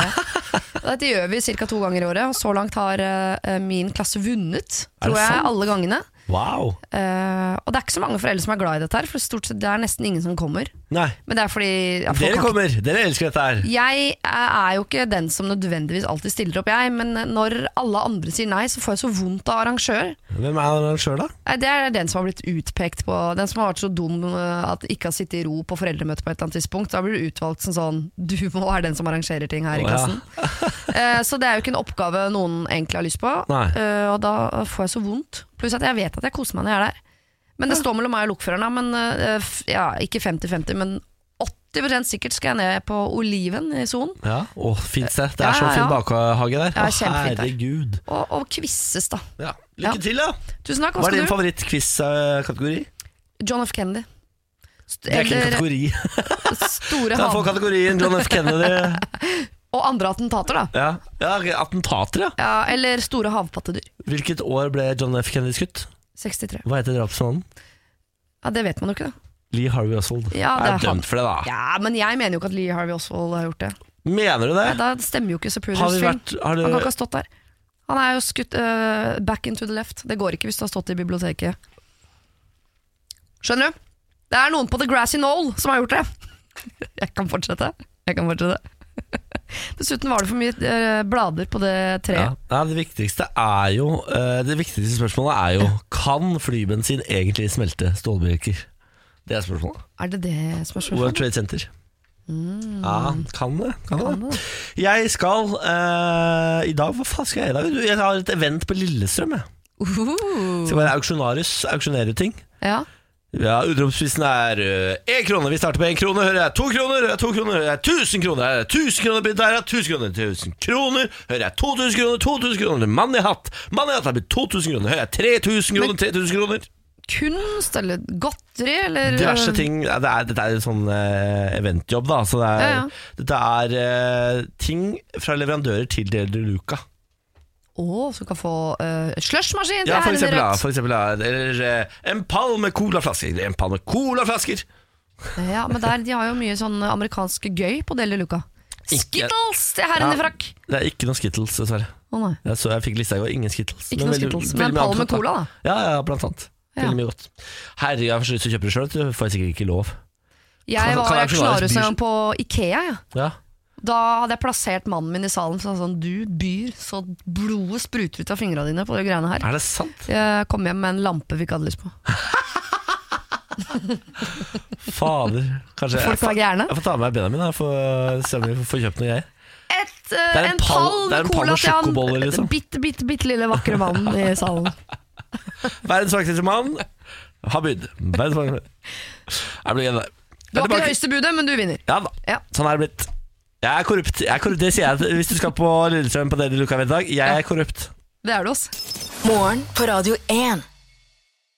Dette gjør vi ca. to ganger i året, og så langt har eh, min klasse vunnet, Er det tror jeg, sant? alle gangene. Wow Eh, og det er ikke så mange foreldre som er glad i dette her, for stort sett det er nesten ingen som kommer. Nei, Men det er fordi ja, folk dere har ikke- kommer Dere elsker dette her Jeg eh, er jo ikke den som nødvendigvis alltid stiller opp, jeg, men eh, når alle andre sier nei, så får jeg så vondt av arrangør. Hvem er arrangør da? Nei, Det er den som har blitt utpekt på Den som har vært så dum eh, at ikke har sittet i ro på foreldremøte på et eller annet tidspunkt. Da blir du utvalgt som sånn Du må være den som arrangerer ting Å, her i ja. klassen. Eh, så det er jo ikke en oppgave noen egentlig har lyst på. Nei. Eh, og da får jeg så vondt. Pluss at jeg vet at jeg koser meg når jeg er der. Men det står mellom meg og lokføreren, da, men eh, f- ja, ikke 50-50, men 80 sikkert skal jeg ned på Oliven i Son. Ja, å, finnes det Det Ja, er så ja, fin ja. bakhage der Ja, Å, kjempefint der. Herregud Og, og quizes, da. ja. Ja. Lykke til da Tusen takk. Hva Hva er skal din du? favoritt-quiz-kategori? John F. Kennedy. St- Det er ikke en eller kategori store Kan jeg få han kategorien John F. Kennedy? Og andre attentater, da. Ja, ja ok, Attentater, ja. Ja, eller store havpattedyr. Hvilket år ble John F. Kennedy skutt? 63. Hva heter drapsmannen? Ja, Det vet man jo ikke, da. Lee Harvey Oswald. Ja, er det er han. dømt for det, da. Ja, Men jeg mener jo ikke at Lee Harvey Oswald har gjort det. Mener du det? Nei, Da stemmer jo ikke Har Superiors vi film. vært øh, har Han kan du, ikke ha øh, stått der. Han er jo skutt eh, back into the left. Det går ikke hvis du har stått i biblioteket. Skjønner du? Det er noen på The Grassy Knoll som har gjort det. Jeg kan fortsette. Jeg kan fortsette. Dessuten var det for mye eh, blader på det Ja. treet. Nei, det viktigste er jo eh, Det viktigste spørsmålet er jo Kan flybensin egentlig smelte stålbjelker? Det er spørsmålet. Er det det som er World spørsmålet? Trade Center. Ja, kan det. Kan det. Mm. Kan det. Jeg skal eh, i dag Hva faen skal jeg i dag? Du, Jeg har et event på Lillestrøm. Jeg. Uhuhu. Skal være auksjonarius. Auksjonere ut ting. Ja. Ja, Utropsprisen er én krone. Vi starter med én krone. Hører jeg to kroner, hører jeg to kroner, hører jeg 1000 kroner. Her er 1000 kroner, blitt der er 1000 kroner, 1000 kroner. Hører jeg 2000 kroner, 2000 kroner. Mann i hatt. Mann i hatt er blitt 2000 kroner. Hører jeg 3000 kroner, 3000 kroner. Kunst eller godteri eller Diverse eh, ting. Ja, det er, dette er en sånn eh, eventjobb, da. Så det er, Ja, ja. dette er eh, ting fra leverandører til Deli Luca. Å, som kan få uh, slushmaskin til Ja, for herren eksempel, ja, rett. for eksempel ja, Eller eh, en pall med colaflasker. En pall med colaflasker. Ja, men der, de har jo mye sånn amerikansk gøy på Deli Luca. Ikke- Skittles til herren Ja. i frakk! Det er ikke noe Skittles, dessverre. Å nei. Jeg så jeg fikk lista i går. Ingen Skittles. Ikke noe veldig- Skittles, veldig men en mye pall annet med godt, cola, da. Ja, ja, ja, blant annet. Ja. Veldig mye godt. Herregud, jeg får lyst til å kjøpe det sjøl, får jeg sikkert ikke lov. Jeg Kan- var kan jeg auksjonarius en auksjonarius gang på Ikea. Ja. Ja. Da hadde jeg plassert mannen min i salen så han sånn Du byr så blodet spruter ut av fingrene dine på de greiene her. Er det sant? Jeg kom hjem med en lampe vi ikke hadde lyst på. Fader. Kanskje jeg, Folk var gærne. jeg får ta med meg Benjamin her, for se om vi får kjøpt noe greier. Et, eh, er en en pall- pall det er med en pall cola med til han sjokoboller, liksom. bitte, bitte, bitte lille vakre mannen i salen. Verdens vakreste mann har bydd. Verdens vakreste Jeg blir igjen der. Jeg er Du har ikke det tilbake. høyeste budet, men du vinner. Ja da. Ja. Sånn er det blitt. Jeg er korrupt. Jeg er korrupt. Det sier jeg hvis du skal på Lillestrøm på Deli Luca i dag. Jeg er korrupt. Det er du, ass. Morgen på Radio 1.